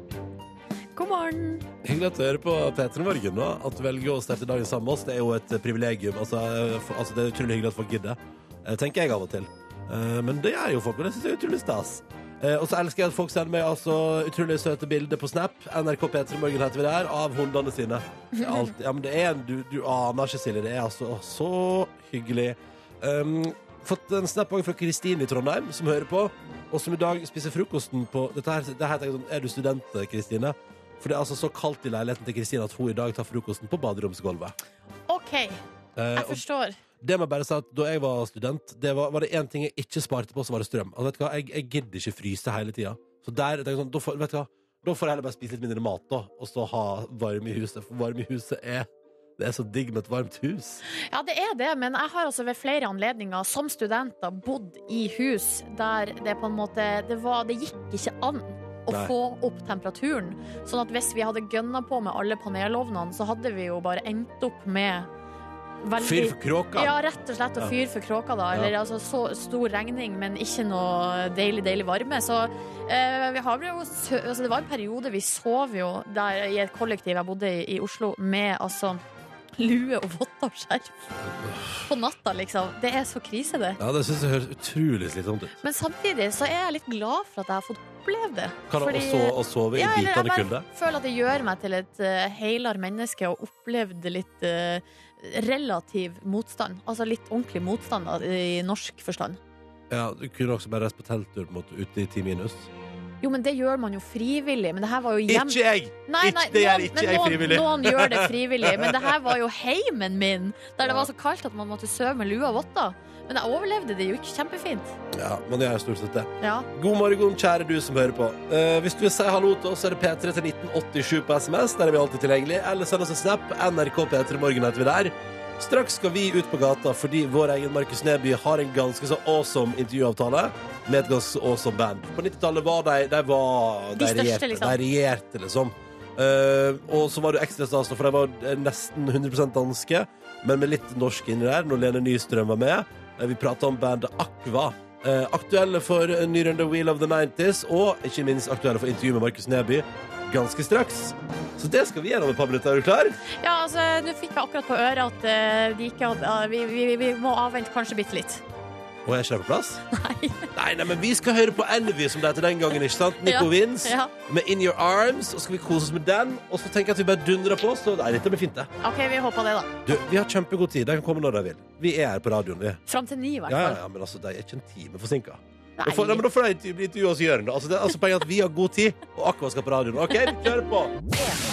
God morgen. Hyggelig at du hører på P3 Morgen. da At du velger å starte dagen sammen med oss, det er jo et privilegium. Altså, eh, for, altså Det er utrolig hyggelig at folk gidder, eh, tenker jeg av og til. Eh, Men det gjør jo folk, og det syns jeg er utrolig stas. Eh, Og så elsker jeg at folk sender meg altså utrolig søte bilder på Snap. NRK P3 Morgen heter vi der, av hundene sine. Det er alt- ja, men det er, du, du aner ikke, Silje. Det er altså så hyggelig. Um, fått en snap også fra Kristine i Trondheim, som hører på, og som i dag spiser frokosten på Dette her, det her tenker jeg sånn, Er du student, Kristine? For det er altså så kaldt i leiligheten til Kristine at hun i dag tar frokosten på baderomsgulvet. OK, Eh, jeg og forstår. det må jeg bare si at Da jeg var student, det var, var det én ting jeg ikke sparte på, så var det strøm. Altså, vet du hva? Jeg, jeg gidder ikke fryse hele tida. Så der, jeg tenker sånn, da, får, vet du hva? da får jeg heller bare spise litt mindre mat, da, og så ha varme i huset. For varme i huset er Det er så digg med et varmt hus. Ja, det er det, men jeg har altså ved flere anledninger som studenter bodd i hus der det på en måte Det, var, det gikk ikke an å Nei. få opp temperaturen. Sånn at hvis vi hadde gønna på med alle panelovnene, så hadde vi jo bare endt opp med Fyr for kråka. Ja, rett og slett å Ja. fyre for kråka, da. Eller altså så stor regning, men ikke noe deilig, deilig varme. Så eh, vi har jo sø altså, Det var en periode vi sov jo der i et kollektiv jeg bodde i, i Oslo, med altså lue og votter og skjerf. På natta, liksom. Det er så krise, det. Ja, det syns jeg høres utrolig slitsomt ut. Men samtidig så er jeg litt glad for at jeg har fått oppleve det. Kan jeg Fordi- også å sove i Ja, eller jeg bitende bare kulde? føler at det gjør meg til et uh, heilere menneske og opplevde litt eh, relativ motstand. Altså litt ordentlig motstand da, i norsk forstand. Ja, du kunne også bare reist på telttur på en måte, ute i ti minus. Jo, men det gjør man jo frivillig. Men det her var jo hjem... jeg! Nei, nei, ikke- det gjør noen- ikke men jeg noen- frivillig. Noen gjør det frivillig, men det her var jo heimen min, der det var så kaldt at man måtte sove med lue og votter. Men jeg overlevde det jo ikke kjempefint. Ja, men jeg gjør stort sett det. Ja. God morgen, kjære du som hører på. Eh, hvis du vil si hallo til oss, så er det P3 til 1987 på SMS. Der er vi alltid tilgjengelig. Eller send oss en snap. NRK P3 Morgen heter vi der. Straks skal vi ut på gata fordi vår egen Markus Neby har en ganske så awesome intervjuavtale. med et ganske awesome band. På 90-tallet var de De var De største, regjerte, liksom. De regjerte, liksom. Eh, og så var det jo ekstra stas, for de var eh, nesten 100 danske, men med litt norsk inni der, når Lene Nystrøm var med. Eh, vi prata om bandet Aqua. Eh, aktuelle for en ny runde Wheel of the 90s, og ikke minst aktuelle for intervju med Markus Neby ganske straks. Så det skal vi gjennom et par minutter. Er du klar? Ja, altså, Nå fikk jeg akkurat på øret at eh, de ikke hadde, ja, vi, vi, vi må avvente kanskje bitte litt. Og jeg er ikke der på plass? Nei. Nei, nei, men vi skal høre på Envy, som det heter den gangen, ikke sant? Nico Ja, Vince ja. med In Your Arms, og skal vi kose oss med den, og så tenker jeg at vi bare dundrer på, så nei, dette blir fint, det. OK, vi håper det, da. Du, vi har kjempegod tid, de kan komme når de vil. Vi er her på radioen, vi. Fram til ni, i hvert Ja, ja, fall. ja, men altså, de er ikke en time forsinka. Da får, nei, men Nei. da får de bli intervjua hos Jørn, da. Altså, det, altså, poenget er at vi har god tid, og Aqua skal på radioen. OK, vi kjører på!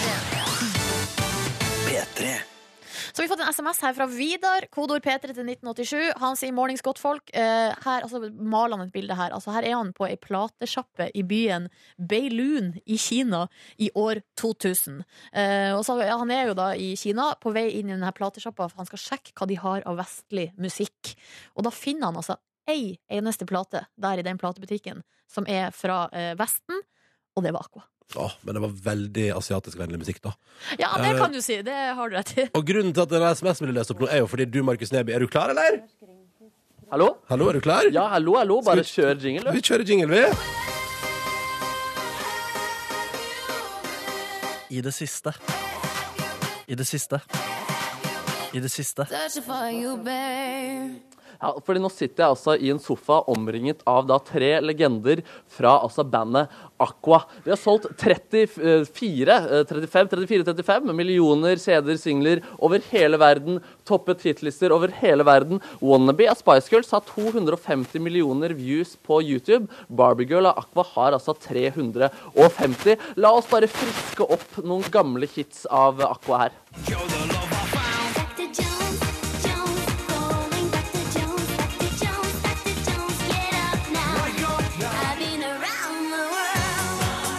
Så vi har fått en SMS her fra Vidar, kodeord P3 til 1987. Han sier 'mornings, godt folk'. Eh, her altså, maler han et bilde her. Altså, her er han på ei platesjappe i byen Beilun i Kina i år 2000. Eh, og så, ja, han er jo da i Kina på vei inn i denne platesjappa, for han skal sjekke hva de har av vestlig musikk. Og da finner han altså ei eneste plate der i den platebutikken som er fra eh, Vesten, og det var Aqua. Å, men det var veldig asiatisk vennlig musikk, da. Ja, det kan du si. Det har du rett i. Og grunnen til at denne SMS-en blir lest opp nå, er jo fordi du, Markus Neby, er du klar, eller? Hallo? Hallo, er du klar? Ja, hallo, hallo. Bare kjør jingle, Vi du. kjører jingle, vi. I det siste. I det siste. I det siste. Ja, fordi nå sitter jeg altså i en sofa omringet av da tre legender fra altså bandet Aqua. Vi har solgt 34, eh, 35, 34, 35 millioner CD-er, singler over hele verden. Toppet hitlister over hele verden. Wannabe av Spice Girls har 250 millioner views på YouTube. Barbiegirl av Aqua har altså 350. La oss bare friske opp noen gamle hits av Aqua her. Back to Jones, Jones, going back to Jones, back to Jones, back to Jones. Get up now. I've been around the world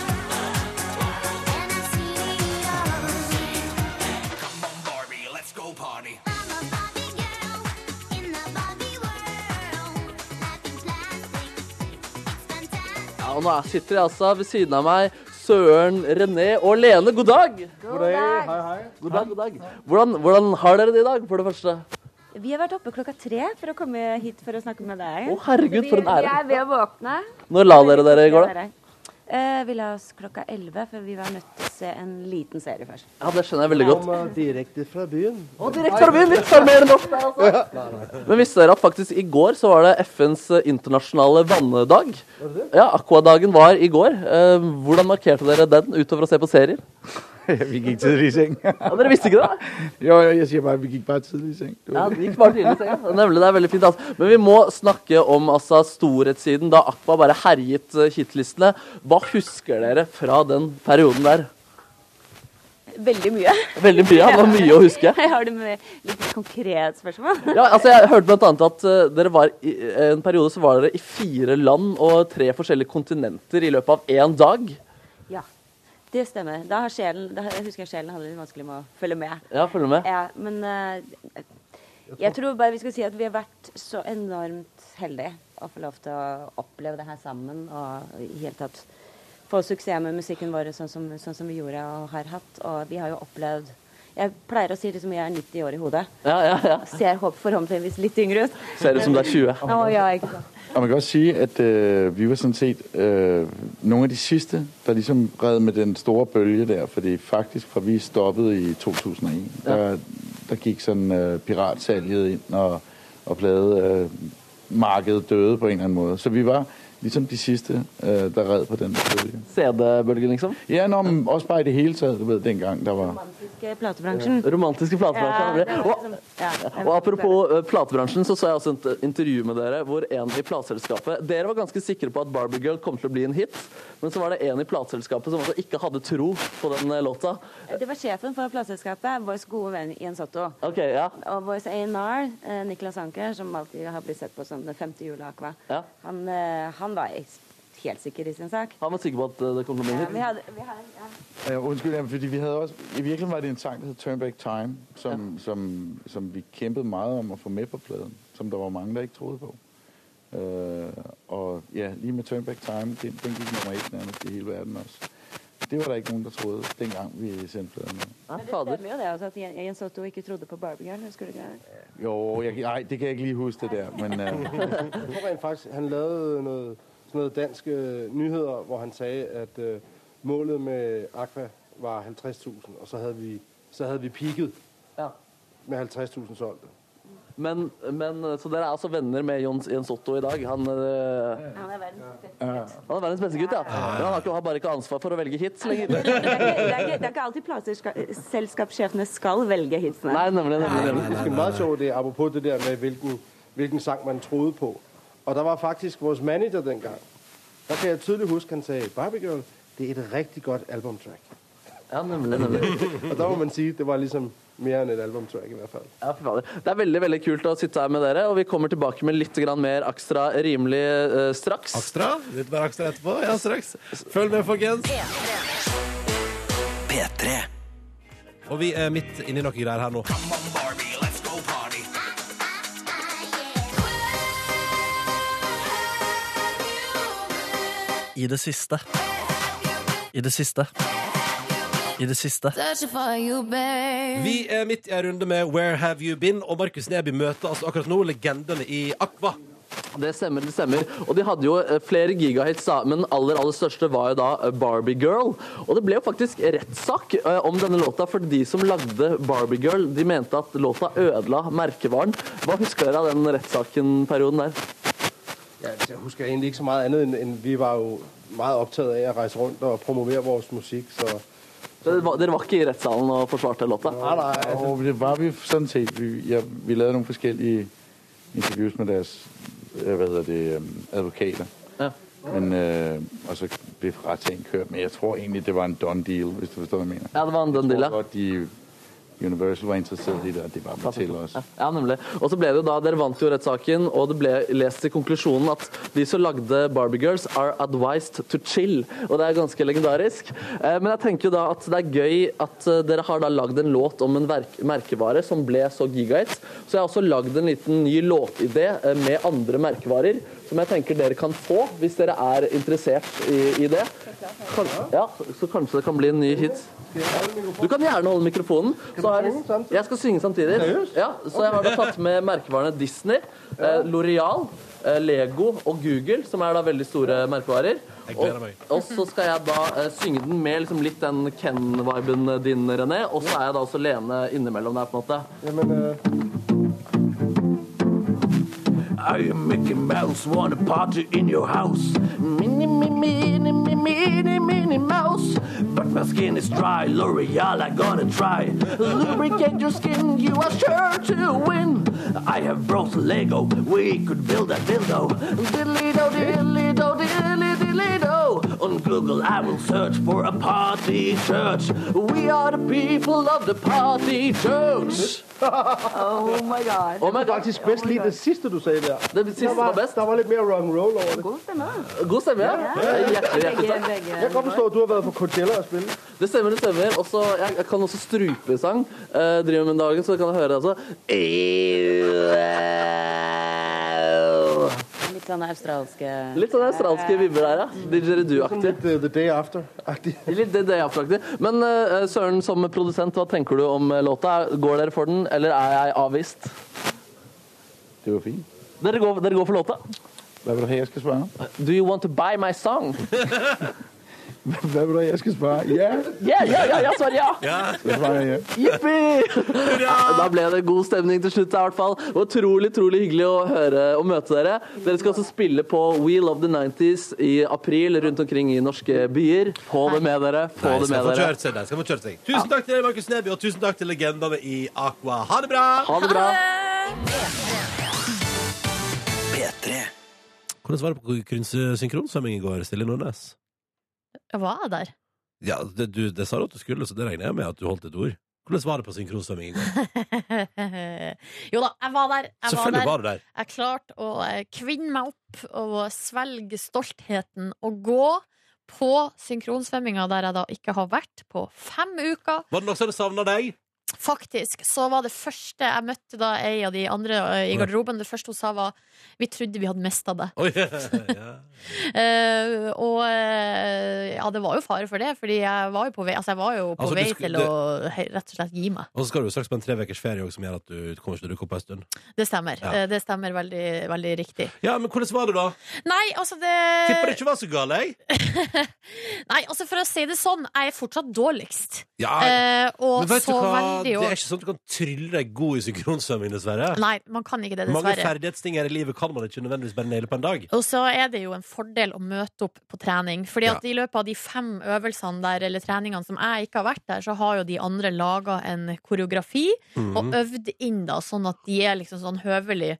and I've seen it all. Come on, Barbie, let's go party. I'm a Barbie girl in the Barbie world. Life is plastic, it's fantastic. Ja, og nå sitter jeg altså ved siden av meg Søren, René og Lene. God dag! God dag. God dag, god dag. Hvordan, hvordan har dere det i dag, for det første? Vi har vært oppe klokka tre for å komme hit for å snakke med deg. Å, herregud, for en Vi ære. er ved å våkne. Når la dere dere i går, da? Eh, vi la oss klokka elleve, for vi var nødt til å se en liten serie først. Ja, det skjønner jeg veldig godt. øh, Direkte fra byen. Å, direkte fra byen! Litt sjarmerende norsk der, altså. Men visste dere at faktisk i går så var det FNs internasjonale vanndag? Ja, Aquadagen var i går. Eh, Hvordan markerte dere den, utover å se på serier? vi gik tidligt i seng. Ja, dere visste ikke det? da? jo, jo, jeg siger bare, at vi gik bare tidligt i seng. Det var Ja, det gikk bare tidlig i senga. Det er Nemlig, det er veldig fint. Altså. Men vi må snakke om altså, storhetssiden, da Aqua bare herjet eh, hitlistene. Hva husker dere fra den perioden der? Veldig mye. Veldig mye. Det var mye å huske. Jeg har det med litt konkret spørsmål. Ja, altså Jeg hørte blant annet at eh, dere var i eh, en periode så var dere i fire land og tre forskjellige kontinenter i løpet av én dag. Ja, det stemmer. Da, har sjelen, da jeg husker jeg sjelen hadde det litt vanskelig med å følge med. Ja, følger du med? Ja, men eh, jeg tror bare vi skal si at vi har vært så enormt heldige å få lov til å oppleve det her sammen. Og i hele tatt få suksess med musikken vår sånn som, sånn som vi gjorde og har hatt. Og vi har jo opplevd Jeg pleier å si det som jeg er 90 år i hodet. Ja, ja, ja. Ser håp forhåpentligvis litt yngre ut. Ser ut som du er 20. Å ja, ikke sant. Og man kan også sige, at øh, vi var sådan set øh, nogle af de sidste, der ligesom red med den store bølge der, fordi faktisk fra vi stoppede i 2001, der, der gik sådan øh, piratsalget ind og, og plade, øh, markedet døde på en eller anden måde. Så vi var ligesom de sidste, øh, der red på den bølge. CD-bølgen, liksom. Ja, nå, men også bare i det hele taget, du ved, dengang der var... Romantiske platebransjen. Romantiske Ja, platebransjen. det var liksom- ja, jeg Og vet ikke. apropos eh, platebransjen, så så jeg også et intervju med dere hvor en i plateselskapet Dere var ganske sikre på at Barbie Girl kom til å bli en hit, men så var det en i plateselskapet som altså ikke hadde tro på den eh, låta. Det var sjefen for plateselskapet, vår gode venn Jens Otto. OK, ja. Og Voice A&R, eh, Niklas Anker, som alltid har blitt sett på som den femte hjulet av Aqua, Ja. han, eh, han var eks- helt sikker i sin sak. Han var sikker på at eh, det kom til å bli Ja, en vi hit. hadde, vi hadde, ja. Øh, undskyld, jamen, fordi vi havde også... I virkeligheden var det en sang, der hed Turn Back Time, som, som, som vi kæmpede meget om at få med på pladen, som der var mange, der ikke troede på. Øh, og ja, lige med Turn Back Time, den, den gik nummer et nærmest i hele verden også. Det var der ikke nogen, der troede, dengang vi sendte pladen. ud. Men det stemmer jo det altså, at Jen- Jens Otto ikke trodde på Barbie Girl. Husker du ikke det? Jo, jeg, nej, det kan jeg ikke lige huske det der, men øh, Jeg tror rent faktisk, han lavede noget, sådan noget dansk øh, nyheder, hvor han sagde, at øh, målet med Aqua var 50.000, og så havde vi, så havde vi peaked Ja. med 50.000 solgte. Men, men, så dere er altså venner med Jons, Jens Otto i dag? Han Han, øh, er verdens beste. han er verdens beste gutt, ja. Men han har, ikke, har bare ikke ansvar for å velge hits lenger. Det er ikke- det er ikke- det er ikke alltid plateselskapssjefene skal velge hitsene. Nei, nemlig. nemlig, nemlig. Det er meget sjovt, det er apropos det der med, hvilken, hvilken sang man troede på. Og der var faktisk vores manager dengang. Der kan jeg tydeligt huske, han sagde, Barbie Girl, det er et rigtig godt albumtrack. Ja, nemlig, nemlig. Og der må man sige, det var ligesom mere end et albumtrack i hvert fald. Ja, fy fader. Det er veldig veldig kult å sitte her med dere, og vi kommer tilbake med litt grann mer Akstra rimelig eh, straks. Akstra. Litt mer Akstra etterpå. Ja, straks. Følg med, folkens. Og vi er midt inni noe greier her nå. I det siste. I det siste. I det siste. Vi er midt i en runde med Where Have You Been? Og Markus Neby møter altså akkurat nå legendene i Aqua. Det stemmer, det stemmer. Og de hadde jo eh, flere gigahits, da, men den aller, aller største var jo da eh, Barbie Girl. Og det ble jo faktisk rettssak eh, om denne låta, for de som lagde Barbie Girl, de mente at låta ødela merkevaren. Hva husker dere av den rettssaken-perioden der? Ja, altså, jeg husker egentlig ikke så meget andet, end, end vi var jo meget optaget af at rejse rundt og promovere vores musik, så... Dere var, dere var ikke i rettssalen og forsvarte låta? Nej, nej, altså, og det var vi sådan set. Vi, ja, vi lavede nogle forskellige interviews med deres øh, hvad hedder det, øh, advokater. Ja. Men, øh, og så blev retssagen kørt. Men jeg tror egentlig, det var en done deal, hvis du forstår, hvad jeg mener. Ja, det var en done Jeg deal, tror ja. godt, de Universal var interesseret i det, og det var mig til os. Ja, nemlig. Og så ble det jo da, Dere vant jo rettssaken, og det ble lest i konklusjonen at de som lagde Barbie Girls are advised to chill. Og det er ganske legendarisk. Eh, Men jeg tenker jo da at det er gøy at eh, dere har da lagd en låt om en verk merkevare som ble så gigahit. Så jeg har også lagd en liten ny låtidé eh, med andre merkevarer som jeg tenker dere kan få hvis dere er interessert i, i det. Kan, ja, så kanskje det kan bli en ny hit. Du kan gjerne holde mikrofonen. Så har synge jeg, samtidig? jeg skal synge samtidig. Ja, så jeg har da tatt med merkevarene Disney, eh, L'Oreal, eh, Lego og Google, som er da veldig store merkevarer. gleder Og, meg. og så skal jeg da eh, synge den med liksom litt den Ken-viben din, René. Og så er jeg da også Lene innimellom der, på en måte. jamen, øh, Are you Mickey Mouse? Wanna party in your house? Mini, mini, mini, mini, mini mouse. But my skin is dry. L'Oreal, I gotta try. Lubricate your skin, you are sure to win. I have brought Lego. We could build a dildo. Dilly do, dilly do, dilly dilly do. On Google, I will search for a party church. We are the people of the party church. Oh my god. Oh my God. faktisk bedst lige det sidste, du sagde der. Det siste Der var var, best. der var lidt mere rock and roll over det. God stemme. da. God stemme, ja. Hjertelig, hjertelig Begge, takk. begge. Jeg kan godt forstå, at du har været på Coachella og spille. Det stemmer, det stemmer. Også, jeg, jeg kan også strupesang. Eh, driver med om dagen, så kan jeg høre det altså. Litt sånn australske Litt sånn australske vibber der, ja. Sådan Didgeridoo-aktig. lidt uh, The Day After-agtigt. Litt det, det aktig Men eh, Søren, som produsent, hva tenker du om eh, låta? Går dere for den, eller er jeg avvist? Det var fint. Dere går, dere går for låta. Eh, Hvad vil du have, jeg skal svare? Do you want to buy my song? Hvad vil du have, jeg skal svare? Ja, Yeah, ja, ja, jeg svarer ja! så svarer jeg ja. Jippi! Da ble det god stemning til slutt, i hvert fall. Det var Utrolig utrolig hyggelig å høre og møte dere. Dere skal også spille på Wheel of the 90s i april rundt omkring i norske byer. Få det med dere. Få De det skal med få dere. kjørt seg. De skal få kjørt seg. Tusen takk til deg, Markus Neby, og tusen takk til legendene i Aqua. Ha det bra! Ha det bra. Hvordan var det på krynse- synkronsvømming i går, Silje Nordnes? Var jeg der? Ja, det, du, det sa du at du skulle, så det regner jeg med at du holdt et ord. Hvordan var det på synkronsvømming i går? jo da, jeg var der. Jeg var Selvfølgelig der. var du der. Jeg klarte å eh, kvinne meg opp og svelge stoltheten og gå på synkronsvømminga der jeg da ikke har vært på fem uker. Var det noen som hadde savna deg? Faktisk. Så var det første jeg møtte da ei av de andre eh, i garderoben, det første hun sa var 'Vi trodde vi hadde mista deg'. Oi, ja. Eh, og eh, ja, det var jo fare for det, fordi jeg var jo på vei, altså, jeg var jo på Altså, du vei sk- til det- å he- rett og slett gi meg. Og så skal du jo straks på en trevekers ferie også, som gjør at du kommer ikke til å dukke opp på en stund. Det stemmer. Ja. Eh, Det stemmer veldig, veldig riktig. Ja, men hvordan var det, da? Nei, altså det Tipper det ikke var så galt, jeg. Nei, altså for å si det sånn, jeg er fortsatt dårligst. Ja, Eh, og men vet så du hva? veldig Det jo er ikke sånn at du kan trylle deg god i synkronsvømming, dessverre. Nei, man kan ikke det, Mange dessverre. ferdighetsting her i livet kan man ikke nødvendigvis bare naile på en dag. Og så er det jo en fordel å møte opp på trening. Fordi at i løpet av de fem øvelsene der, eller treningene som jeg ikke har vært der, så har jo de andre laga en koreografi Mhm. og øvd inn, da, sånn at de er liksom sånn høvelig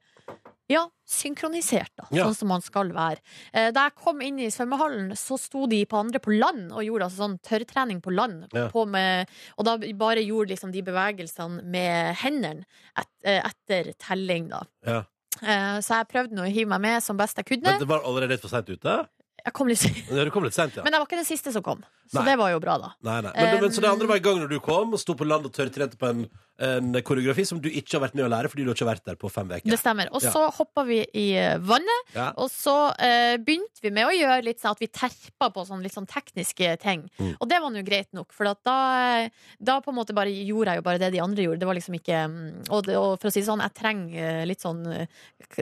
ja, synkronisert, da. Ja. Sånn som man skal være. Eh, Da jeg kom inn i svømmehallen, så sto de på andre på land og gjorde altså sånn tørrtrening på land. Ja. På med, og da bare gjorde liksom de bevegelsene med hendene et, eh, etter telling, da. Ja. Eh, Så jeg prøvde nå å hive meg med som best jeg kunne. Men det var allerede litt for seint ute? Jeg kom litt Ja, du kom litt sent, ja. Men jeg var ikke den siste som kom, så Nei. det var jo bra, da. Nei, nei. Men, men, så det Um, andre var i gang når du kom og sto på land og tørrtrente på en, en koreografi som du ikke har vært med å lære fordi du ikke har vært der på fem uker. Det stemmer. Og så hoppa vi i eh, vannet, Ja. og så eh, begynte vi med å gjøre litt sånn at vi terpa på sånn litt sånn tekniske ting. Mm. Og det var nå greit nok, for at da, da på en måte bare gjorde jeg jo bare det de andre gjorde. Det var liksom ikke mm, Og, det, og for å si det sånn, jeg trenger eh, litt sånn eh,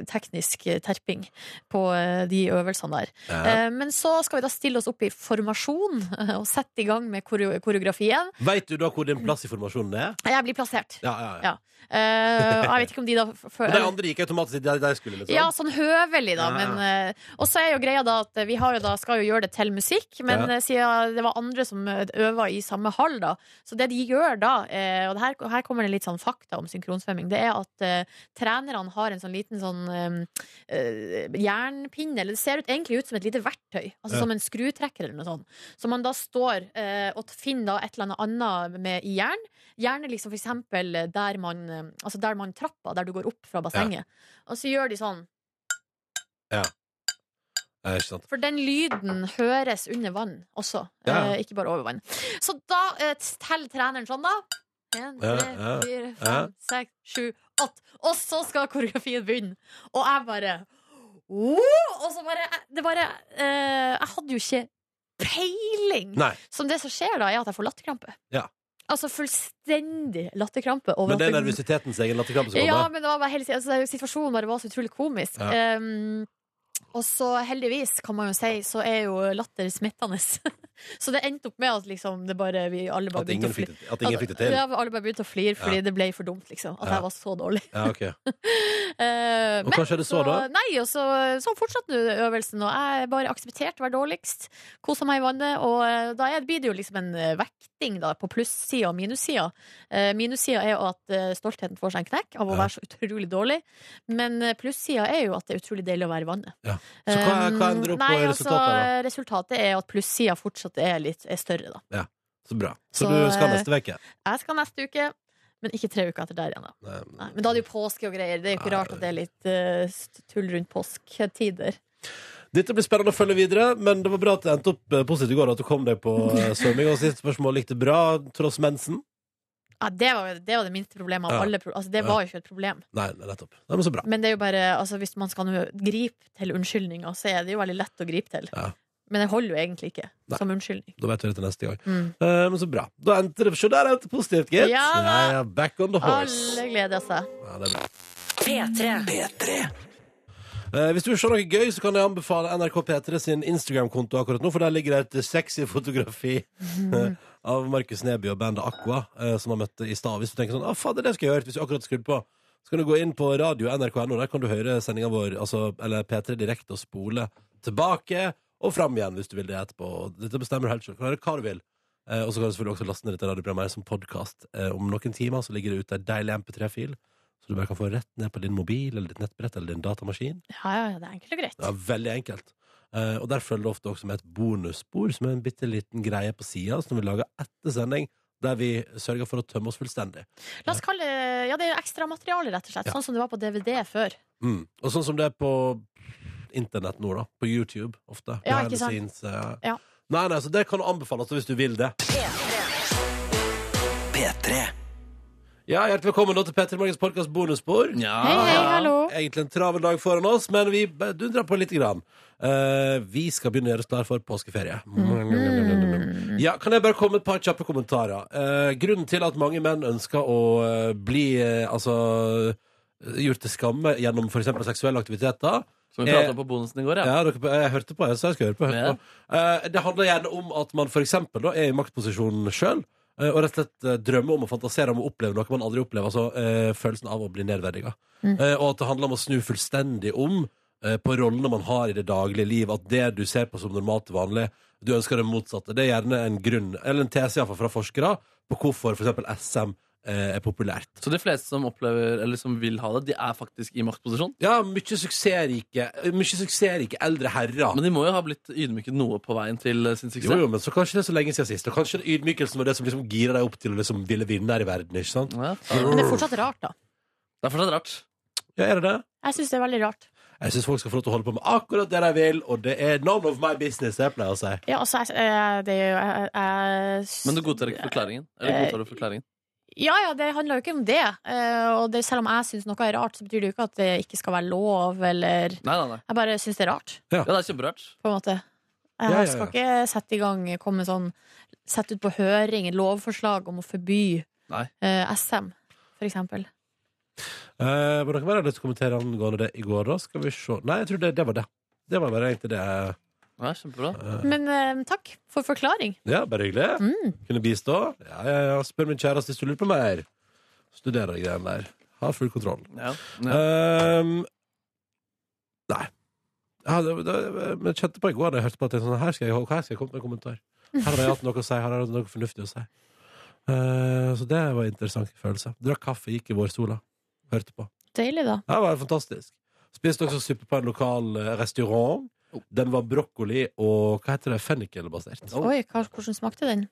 teknisk eh, terping på eh, de øvelsene der. Ja. Eh, Men så skal vi da stille oss opp i formasjon og sette i gang med koreo- koreografien. Veit du da hvor din plass i formasjonen er? Jeg blir plassert. Ja, ja, ja. Ja. Eh, og jeg vet ikke om de da f- f- Og de andre gikk automatisk dit de skulle, liksom? Ja, sånn høvelig, da. Ja, ja. Men, eh, og så er jo greia da at vi har jo da, skal jo gjøre det til musikk, men Ja. eh, siden det var andre som eh, øver i samme hall, da. Så det de gjør da, eh, og det her, her kommer det litt sånn fakta om synkronsvømming, det er at eh, trenerne har en sånn liten sånn eh, eh, jernpinne, eller det ser ut, egentlig ut som et lite verktøy, altså Ja. som en skrutrekker eller noe sånt. Så man da står eh, og finner da et eller annet annet med i jern, gjerne liksom for eksempel der man, eh, altså der man trappa, der du går opp fra bassenget, og så gjør de sånn, Ja, ikke sant. For den lyden høres under vann også, Ja. eh, ikke bare over vann. Så da eh, teller treneren sånn, da. En, Ja, tre, ja, fire, ja. fem, seks, sju, åtte. Og så skal koreografien begynne. Og jeg bare «Wow!» Og så bare Det bare eh, Jeg hadde jo ikke peiling. Nei. Så det som skjer da, er at jeg får latterkrampe. Ja. Altså fullstendig latterkrampe. over Men det at er nervøsitetens egen latterkrampe som ja, kommer? men det var bare hele, altså, situasjonen bare var så utrolig komisk. Ja. Ehm, og så heldigvis, kan man jo si, så er jo latter smittende. så det endte opp med at liksom det bare vi alle bare At ingen å fikk fli- det- at ingen fikk det til. Ja, alle bare begynte å flire fordi Ja. det ble for dumt, liksom. At Ja. jeg var så dårlig. Ja, ok. Eh, Og hva skjedde så da? Nei, og så, så fortsatte øvelsen, og jeg bare aksepterte å være dårligst. Kosa meg i vannet, og eh, da er- blir det jo liksom en eh, vekting da, på plussida og minussida. Eh, Minussida er jo at eh, stoltheten får seg en knekk av å være så utrolig dårlig, men eh, plussida er jo at det er utrolig deilig å være i vannet. Ja. Så hva, hva ender Eh, opp Nei, på altså, resultatet? resultatet er at plussida fortsatt er litt er større, da. da? Ja. Så bra. Så, Så, du skal eh, neste uke? Jeg skal neste uke, men ikke tre uker etter der igjen, da. Nei, Nei, men da er det jo påske og greier. Det er jo ikke rart at det er litt eh, st- tull rundt påsketider. Dette blir spennende å følge videre, men det var bra at det endte opp eh, positivt i går, at du kom deg på eh, svømming. Og siste spørsmål gikk det bra tross mensen? Ja, det var, jo- det var det minste problemet av Ja. alle pro altså, Det Ja. var jo ikke et problem. Nei, nei, nettopp. Nei, men så bra. Men det er jo bare, altså, hvis man skal nå gripe til unnskyldninger, så er det jo veldig lett å gripe til. Ja. Men det holder jo egentlig ikke Nei. som unnskyldning. Da vet du det til neste gang. Mm. Eh, men så bra. Da endte det Se der endte det positivt, gitt. Ja da. Ja, ja, back on the horse. Alle gleder seg. Ja, det er bra. P3. Eh, hvis du vil se noe gøy, så kan jeg anbefale NRK P3 sin Instagram-konto akkurat nå, for der ligger det et sexy fotografi eh, av Markus Neby og bandet Aqua, eh, som han møtte i stad. Hvis du tenker sånn 'Å, fader, det skal jeg høre', hvis du akkurat skrudde på, så kan du gå inn på radio nrk.no. Der kan du høre sendinga vår, altså, eller P3 direkte, og spole tilbake og fram igjen hvis du vil det etterpå. Og Dette bestemmer du helt selv. Du kan høre hva du vil. Eh, og så kan du selvfølgelig også laste ned dette radioprogrammet her som podkast. Eh, om noen timer så ligger det ute en deilig MP3-fil, så du bare kan få rett ned på din mobil eller ditt nettbrett eller din datamaskin. Ja, ja, ja, det er enkelt og greit. Ja, veldig enkelt. Eh, og der følger det ofte også med et bonusspor, som er en bitte liten greie på sida, som vi lager etter sending, der vi sørger for å tømme oss fullstendig. La oss kalle det Ja, det er jo ekstramateriale, rett og slett. Ja. Sånn som det var på DVD før. Mm. Og sånn som det er på internett nå, da. På YouTube ofte. Ja, Behind ikke the sant? scenes, eh. Ja. Nei, nei, så det kan anbefales hvis du vil det. Ja, Hjertelig velkommen nå til Petter Morgens podkast bonusspor. Hei, hei, hallo. Egentlig en travel dag foran oss, men vi bare dundrer på litt. Grann. Eh, vi skal begynne å gjøre oss klar for påskeferie. Mm. Ja, Kan jeg bare komme med et par kjappe Mm. kommentarer? Eh, grunnen til at mange menn ønsker å eh, bli eh, altså, gjort til skamme gjennom f.eks. seksuelle aktiviteter Som vi er- pratet om på bonusen i går, ja. ja, dere, jeg hørte på, jeg, så jeg skal høre på. jeg Hørte på. Eh, det handler gjerne om at man for eksempel da, er i maktposisjonen sjøl. Og rett og slett eh, drømmer om og fantaserer om å oppleve noe man aldri opplever. Altså eh, følelsen av å bli nedverdiga. Mm. Eh, og at det handler om å snu fullstendig om eh, på rollene man har i det daglige liv. At det du ser på som normalt til vanlig, du ønsker det motsatte. Det er gjerne en grunn, eller en tese i hvert fall fra forskere, på hvorfor f.eks. SM eh, er populært. Så de fleste som opplever, eller som vil ha det, de er faktisk i maktposisjon? Ja, mye suksessrike, mye suksessrike eldre herrer. Men de må jo ha blitt ydmyket noe på veien til eh, sin suksess? Jo, jo, men så kanskje det er så lenge siden sist. Og kanskje ydmykelsen var det som liksom girer deg opp til å liksom ville vinne her i verden. ikke sant? Men det er fortsatt rart, da. Det er fortsatt rart. Ja, er det det? Jeg syns det er veldig rart. Jeg syns folk skal få lov til å holde på med akkurat det de vil, og det er none of my business, det jeg pleier å si. Ja, altså, jeg, eh, det er jo jeg, jeg, Men du godtar ikke forklaringen? Eh, Eller godtar du forklaringen? Ja, ja, det handler jo ikke om det. Eh, Og det, selv om jeg syns noe er rart, så betyr det jo ikke at det ikke skal være lov, eller Nei, nei, nei. Jeg bare syns det er rart, Ja, det er kjemperart. på en måte. Ja, Jeg ja, ja. skal ikke sette i gang komme sånn Sette ut på høring et lovforslag om å forby Nei. eh, SM, for eksempel. Eh, men dere mer har lyst til å kommentere angående det i går, da? Skal vi se Nei, jeg tror det, det var det. Det var bare egentlig det. Ja, kjempebra. Men eh, takk for forklaring. Ja, bare hyggelig. Kunne bistå. Ja, ja, ja. Spør min kjæreste hvis du lurer på mer. Studerer greiene der. Har full kontroll. Ja. Ehm, nei. Ja, det, det, men jeg kjente på i går da jeg hørte på at det er sånn, her skal jeg, her skal jeg komme med en kommentar. Her har jeg hatt noe å si, her har jeg hatt noe fornuftig å si. Eh, så det var en interessant følelse. Drakk kaffe, gikk i vårsola. Hørte på. Deilig, da. Ja, Det var fantastisk. Spiste også suppe på en lokal eh, restaurant. Oh. Den var brokkoli og hva heter det, fennikelbasert. Oi, hva, hvordan smakte den?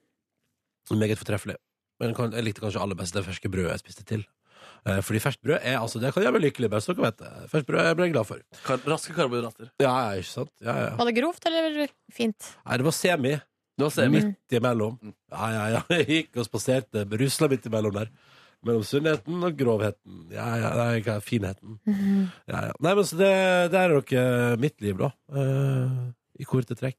Meget fortreffelig. Men kan- jeg likte kanskje aller best det ferske brødet jeg spiste til. Eh, Fordi ferskt brød er altså, det kan gjøre meg lykkelig, bare så dere vet det. Ferskt brød ble jeg glad for. Kar raske karbohydrater. Ja, ja, ikke sant? Ja, ja. Var det grovt eller fint? Nei, det var semi. Mm. semi. Midt imellom. Ja, ja, ja. Jeg gikk og spaserte, rusla midt imellom der. Mellom sunnheten og grovheten. Ja, ja, nei, hva er finheten. Ja, ja. Nei, men så det, der er dere mitt liv, da. Eh, I korte trekk.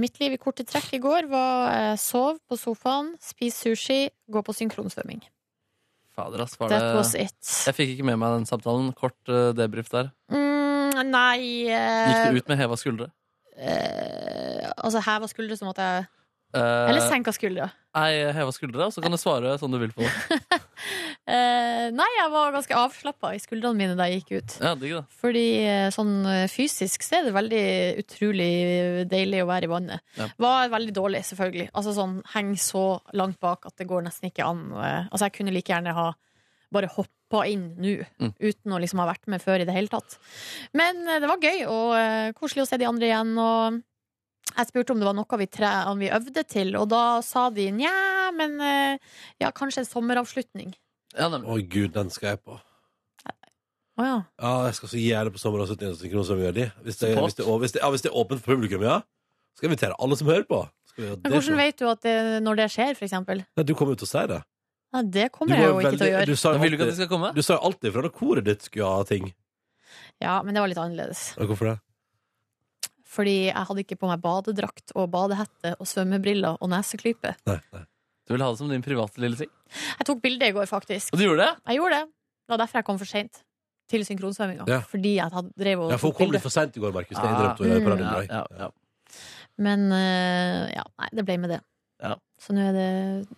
Mitt liv i korte trekk i går var eh, sov på sofaen, spis sushi, gå på synkronsvømming. Fader, ass. Var det... That was it. Jeg fikk ikke med meg den samtalen. Kort eh, debrief der. Mm, nei Gikk eh, det ut med heva skuldre? eh, Altså heva skuldre som at jeg Eller senka skuldra. Eh, Nei, heva skuldre, og så kan du svare sånn du vil på det. Eh, nei, jeg var ganske avslappa i skuldrene mine da jeg gikk ut. Ja, digg da. Fordi eh, sånn eh, fysisk så er det veldig utrolig deilig å være i vannet. Ja. Var veldig dårlig, selvfølgelig. Altså sånn heng så langt bak at det går nesten ikke an. eh, Altså jeg kunne like gjerne ha bare hoppa inn nå, Mm. uten å liksom ha vært med før i det hele tatt. Men eh, det var gøy og eh, koselig å se de andre igjen. og... Jeg spurte om det var noe vi, tre, om vi øvde til, og da sa de nja, men eh, ja, kanskje en sommeravslutning. Å gud, den skal jeg på. Å ja. Ja, jeg skal så gjerne på sommeravslutning og synkronsvømming. Jørdi. Hvis, det- Support. hvis, det- og hvis, det- ja, hvis det er åpent for publikum, ja. Skal jeg invitere alle som hører på. Skal vi gjøre Men det hvordan sånn? vet du at det, når det skjer, for eksempel? Nei, du kommer jo til å si det. Ja, det Du kommer var jeg jo jo ikke til å veldig- gjøre. Du sa jo Da vil du ikke at alltid- de skal komme? Du sa jo alltid fra da koret ditt skulle ha ting. Ja, men det var litt annerledes. Ja, Hvorfor det? Fordi jeg hadde ikke på meg badedrakt og badehette og svømmebriller og neseklype. Du vil ha det som din private lille ting? Jeg tok bilde i går, faktisk. Og du gjorde det? Jeg gjorde det. Det var derfor jeg kom for seint til synkronsvømminga. Ja. Fordi jeg hadde, drev og Ja, for hun tok kom bilde. litt for seint i går, Markus. Det Ah. innrømte hun på Mm. radioen i dag. Ja, ja. Men eh, ja, nei, det ble med det. Ja. Så nå er det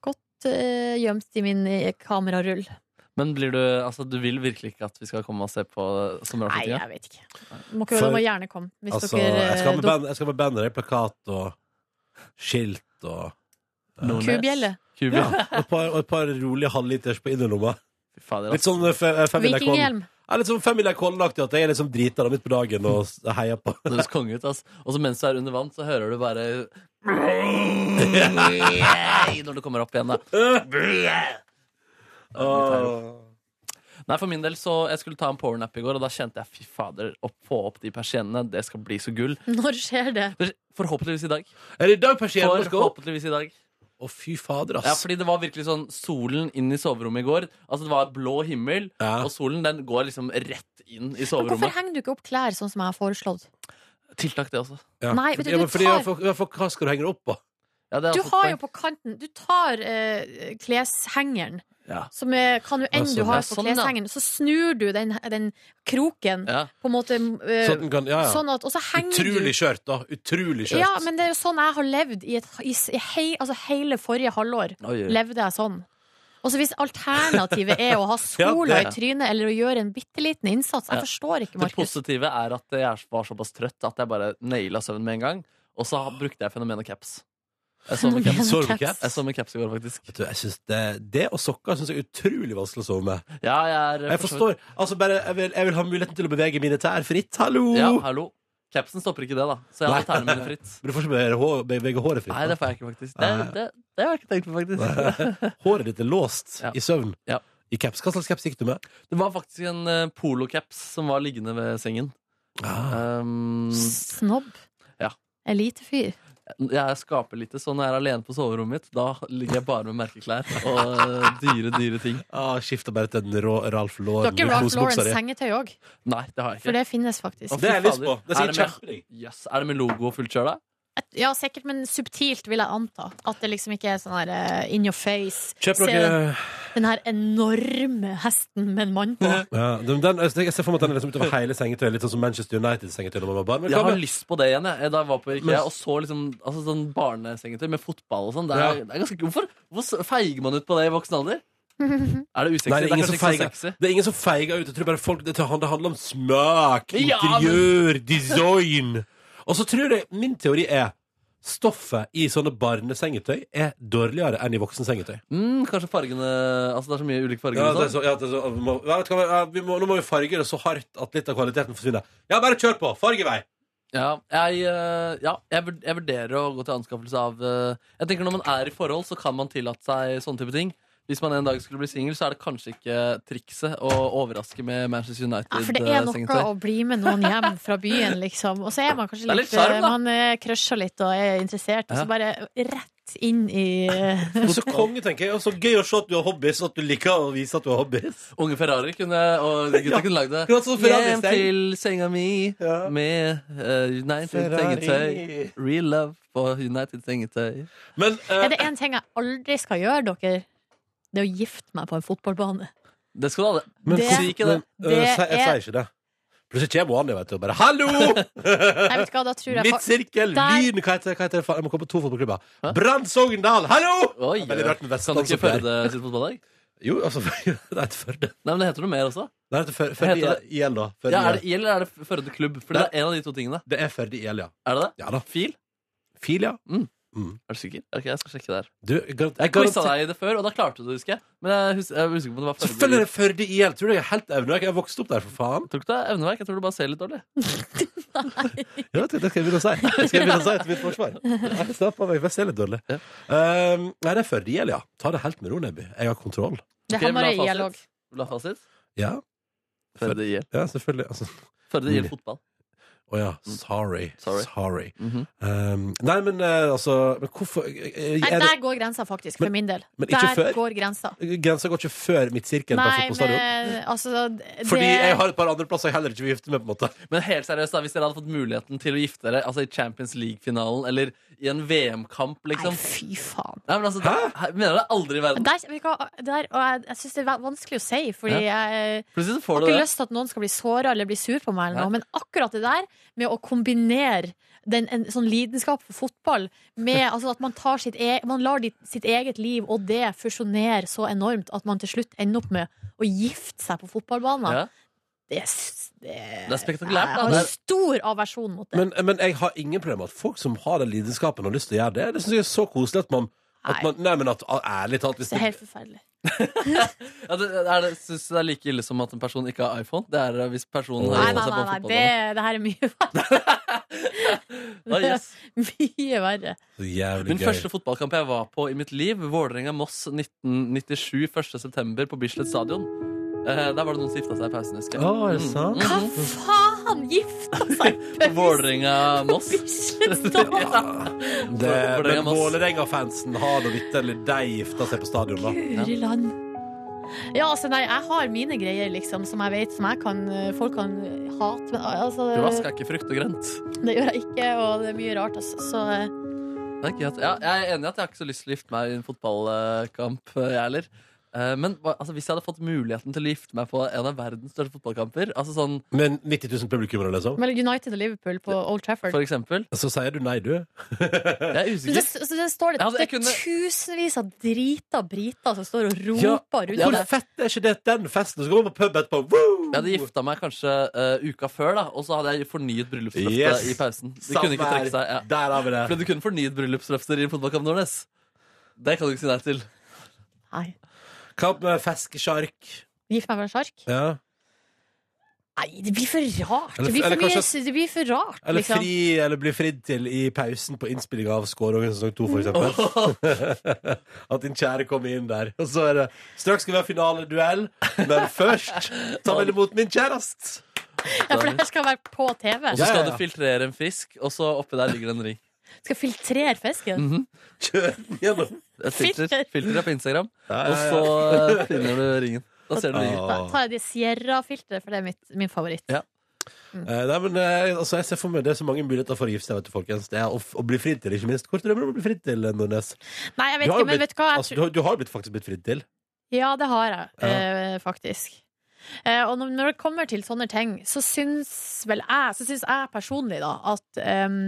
godt eh, gjemt i min eh, kamerarull. Men blir du, altså, du vil virkelig ikke at vi skal komme og se på Nei, sommeravslutninga? jeg vet ikke. Må ikke dere må gjerne komme. Hvis Altså, dere jeg skal ha med eh, band- jeg skal ha med banner, i plakat og skilt og eh, dok- Kubjelle. Ja, og et par, og et par rolige halvliters på innerlomma. Litt sånn eh, fe- eh, Family Con. Vikinghjelm. Ja, litt sånn Family Con-aktig at jeg er liksom drita da midt på dagen og s- heier på. Det høres konge ut, ass. Og så mens du er under vann, så hører du bare Når du kommer opp igjen, da. Nei, for min del så Jeg skulle ta en powernap i går, og da kjente jeg fy fader, å få opp de persiennene, det skal bli så gull. Når skjer det? Forhåpentligvis i dag. Er det i dag persiennene skal opp? Forhåpentligvis i dag. Å, fy fader, ass. Ja, fordi det var virkelig sånn solen inn i soverommet i går. Altså Det var blå himmel, og solen den går liksom rett inn i Hvorfor soverommet. henger du ikke opp klær sånn som jeg har foreslått? Tiltak, det også. Ja. Nei, vet du, ja, men du fordi, tar- ja, for, ja, for hva skal du henge det altså opp på? Du har jo på kanten Du tar eh, kleshengeren. Ja. Som er, kan du enn Ja, du sånn. har Ja, på sånn, ja. kleshengeren. Så snur du den, den kroken Ja. på en måte eh, Sånn at den kan- ja, ja. sånn at Og så henger Utrolig du skjørt, da. Utrolig skjørt. Ja, men det er jo sånn jeg har levd i, et, i, s- i hei, altså hele forrige halvår. Oi, oi. Levde jeg sånn. Og så hvis alternativet er å ha sola Ja, det- i trynet eller å gjøre en bitte liten innsats Jeg Ja. forstår ikke, Det Markus. positive er at jeg er- var såpass trøtt at jeg bare naila søvn med en gang. Og så har- brukte jeg fenomenet caps. Jeg sov med caps. Sov med caps? Jeg sov med caps i går, faktisk. Vet du, jeg synes det, det og sokker syns jeg er utrolig vanskelig å sove med. Ja, jeg, er eh, Jeg forstår. Altså bare, jeg, vil, jeg vil ha muligheten til å bevege mine tær fritt. Hallo! Ja, hallo. Capsen stopper ikke det, da. Så jeg har tærne mine fritt. Men du får ikke bevege hå- bevege håret fritt. Nei, det får jeg ikke, faktisk. Det, det, det har jeg ikke tenkt på, faktisk. Nei. Håret ditt er låst i søvn. I caps. Hva slags caps gikk du med? Det var faktisk en eh, polocaps som var liggende ved sengen. Ah. Um, Snobb. ja. Elitefyr. Jeg skaper lite, så når jeg er alene på soverommet mitt, da ligger jeg bare med merkeklær og eh, dyre, dyre ting. Ah, Skifta bare til en rå Ralph Du har Lauren. ikke Ralph Lauren kosebuksa di. sengetøy òg? Nei, det har jeg ikke. For det finnes faktisk. Å, fy fader. sier Er det med- Yes, er det med logo og fullt kjør, da? Ja, sikkert, men subtilt vil jeg anta. At det liksom ikke er sånn her eh, in your face. Kjøp Se noe- den, den her enorme hesten med en mann på. Ja, den, den, jeg ser for meg at den er liksom utover hele sengetøyet, litt sånn som Manchester United-sengetøy. når man var barn. Men Jeg hva har med- lyst på det igjen. Jeg, da jeg var på Ikea Men- og så liksom, altså, sånn barnesengetøy med fotball og sånn. Det er, Ja. det er ganske, hvorfor, hvorfor feiger man ut på det i voksen alder? Er det usexy? Nei, det, er ingen kanskje som ikke så feiger, sexy. det er ingen som feiger ut. Jeg tror bare folk, det, handler- det handler om smak, Ja, interiør, design. Og så tror jeg Min teori er stoffet i sånne barnesengetøy er dårligere enn i voksensengetøy. Mm, kanskje fargene Altså, det er så mye ulike farger. Ja, og det er så, sånn. ja, det er så, vi må, ja, vet du hva, ja, vi må, nå må vi farge det så hardt at litt av kvaliteten forsvinner. Ja, bare kjør på! Farg i vei! Ja, jeg, eh, ja jeg, vurd- jeg vurderer å gå til anskaffelse av eh, Jeg tenker Når man er i forhold, så kan man tillate seg sånne type ting. Hvis man en dag skulle bli singel, så er det kanskje ikke trikset å overraske med Manchester eh, Ja, for det er noe United-sengetøy. å bli med noen hjem fra byen, liksom. Og så er man kanskje Det er litt, litt sjarm, da. Man eh, crusher litt og er interessert, og Ja. så bare rett inn i eh, Og så konge, tenker jeg. Og så gøy å se at du har hobbies, og at du liker å vise at du har hobbies. Unge Ferrari kunne, og gutta kunne lagd det. akkurat som Ferrari Hjem Stein. til senga mi med eh, United Ferrari. sengetøy. Real love på United sengetøy. Men eh, Er det én ting jeg aldri skal gjøre, dere? Det er å gifte meg på en fotballbane. det skal du aldri Men Det- si ikke det. det jeg, sier- jeg er- sier ikke det. Plutselig kommer Annie vet du, og bare 'hallo!' Nei, vet du hva, da tror jeg Mitt sirkel, Der- Lyn Hva heter, hva heter det? faen? Jeg må komme på to fotballklubber. Brann Sogndal, hallo! Oi, Det er veldig rart med kan du ikke vestlandsoppgjør. Førde sitt fotballag? Jo, altså Det heter Førde. Nei, men det heter noe mer også. Det heter Før- Førde Heter det- IL, da. Førde Ja, er IL. det IL eller er det Førde klubb? For det er en av de to tingene. Det er Førde IL, ja. Er det det? Ja da. Fil? Mm. Fil, ja. Er du sikker? Ok, jeg skal sjekke det her. Du, gar- Jeg jeg quiza garanterer deg i det før, og da klarte du det, husker jeg. Men jeg hus- jeg husker ikke om det var Førde. Selvfølgelig er det Førde IL. Tror du jeg er helt evneverk? Jeg har vokst opp der, for faen. Tror du ikke det er evneverk? Jeg tror du bare ser litt dårlig. Ja, det det skal jeg begynne å si. Det skal jeg begynne å si til mitt forsvar. Jeg slapp av, jeg bare ser litt dårlig. Um, nei, det er Førde IL, ja. Ta det helt med ro, Nebby. Jeg har kontroll. Det Ok, vil du handler ha om fasit? dialog. Vil du ha fasit? Ja. Førde IL. Ja, selvfølgelig. Altså. Førde IL fotball. Mm. Å ja. Sorry. Sorry. Sorry. Mhm. um, nei, men eh, altså men Hvorfor eh, Nei, er der det, går grensa, faktisk, for min Men- del. men ikke Der før? går grensa. Grensa går ikke før midtsirkel på Nei, fotballstadion? men altså det, Fordi jeg har et par andre plasser jeg heller ikke vil gifte meg på. en måte Men helt seriøst, da, hvis dere hadde fått muligheten til å gifte dere Altså i Champions League-finalen eller i en VM-kamp, liksom Nei, fy faen. Nei, men altså, Hæ? Mener du det aldri i verden? der, vet du hva, der, og jeg, jeg syns det er va- vanskelig å si, fordi jeg Plutselig så har får ikke du det. lyst til at noen skal bli såra eller bli sur på meg, eller noe, Nei. men akkurat det der med å kombinere den, en sånn lidenskap for fotball med altså, at man, tar sitt e man lar ditt, sitt eget liv og det fusjonere så enormt at man til slutt ender opp med å gifte seg på fotballbanen, Ja. det, s- det Det er spektakulært. Jeg Da. har Det er, stor aversjon mot det. Men, men jeg har ingen problemer med at folk som har den lidenskapen og har lyst til å gjøre det, det syns jeg er så koselig at man, at man Nei, men at ærlig talt hvis Det er det, helt forferdelig. ja, det, er det, synes du det er like ille som at en person ikke har iPhone? Det er eh, hvis personen Nei, har nei, seg nei, på nei det, fotballen. det her er mye verre. Ah, yes. Mye verre. Så jævlig Min gøy. første fotballkamp jeg var på i mitt liv, Vålerenga-Moss 1997, 1. september på Bislett stadion. Eh, der var det noen som gifta seg i pausen, husker jeg. Mhm. Å, er det sant? Hva faen? han gifta seg Mm. på Vålerenga-Moss. Det, men Vålerenga-Moss. Vålerenga-fansen har da vitterlig de gifta seg på stadion, da. Guri land. Ja, altså, nei, jeg har mine greier, liksom, som jeg vet som jeg kan, eh, folk kan hate. Men, altså, Du vasker ikke frukt og grønt. det gjør jeg ikke, og det er mye rart, altså. Så eh, Det er gøy at, ja, jeg er enig i at jeg har ikke så lyst til å gifte meg i en fotballkamp, eh, jeg heller. Eh, Men hva- altså, hvis jeg hadde fått muligheten til å gifte meg på en av verdens største fotballkamper altså sånn, Men 90 000 publikummere, liksom? mellom United og Liverpool på Old Trafford. For eksempel. Så sier du nei, du? Jeg er Men det, så det står det, Ja, altså, det jeg er kunne- tusenvis av drita briter som står og roper Ja, rundt hvor deg. fett er ikke det den festen? Så går man på pub etterpå. Woo! Jeg hadde gifta meg kanskje eh, uka før, da og så hadde jeg fornyet bryllupsløftet Yes. i pausen. De Samme kunne ikke her. trekke seg ja. Der har vi det. Fordi du kunne fornyet bryllupsløfter i en fotballkamp, Nordnes. Det kan du ikke si nei til. Nei. Kamp med fiskesjark. Gift meg med en sjark? Ja. Nei, det blir for rart. Eller- det, blir for eller kanskje- mye, det blir for rart, Eller liksom. fri, eller bli fridd til i pausen på innspillinga av Skårågen sesong 2, for eksempel. At din kjære kommer inn der. Og så er det Straks skal vi ha finaleduell, men først ta vel imot min kjærest! Ja, for det her skal være på TV. Og så skal du filtrere en fisk, og så oppi der ligger det en ring. Skal filtrere fisken? Mhm. Kjør den gjennom. Et filter, Filter. filter er på Instagram, ja, ja. og så eh, finner du ringen. Da ser du Da ringen. tar jeg de Sierra-filteret, for det er mitt, min favoritt. Ja. Eh, nei, men eh, altså, jeg ser for meg Det er så mange muligheter for å gifte seg, vet du, folkens. Det er å, f- å bli fridd til, ikke minst. Hvor drømmer du om å bli fridd til, eh, Nordnes? Nei, jeg vet Du har jo ikke, men blitt- vet du hva? Jeg altså, du, har- du har blitt faktisk blitt fridd til. Ja, det har jeg, Ja. eh, faktisk. Eh, og når- når det kommer til sånne ting, så syns vel jeg, så syns jeg personlig da, at em,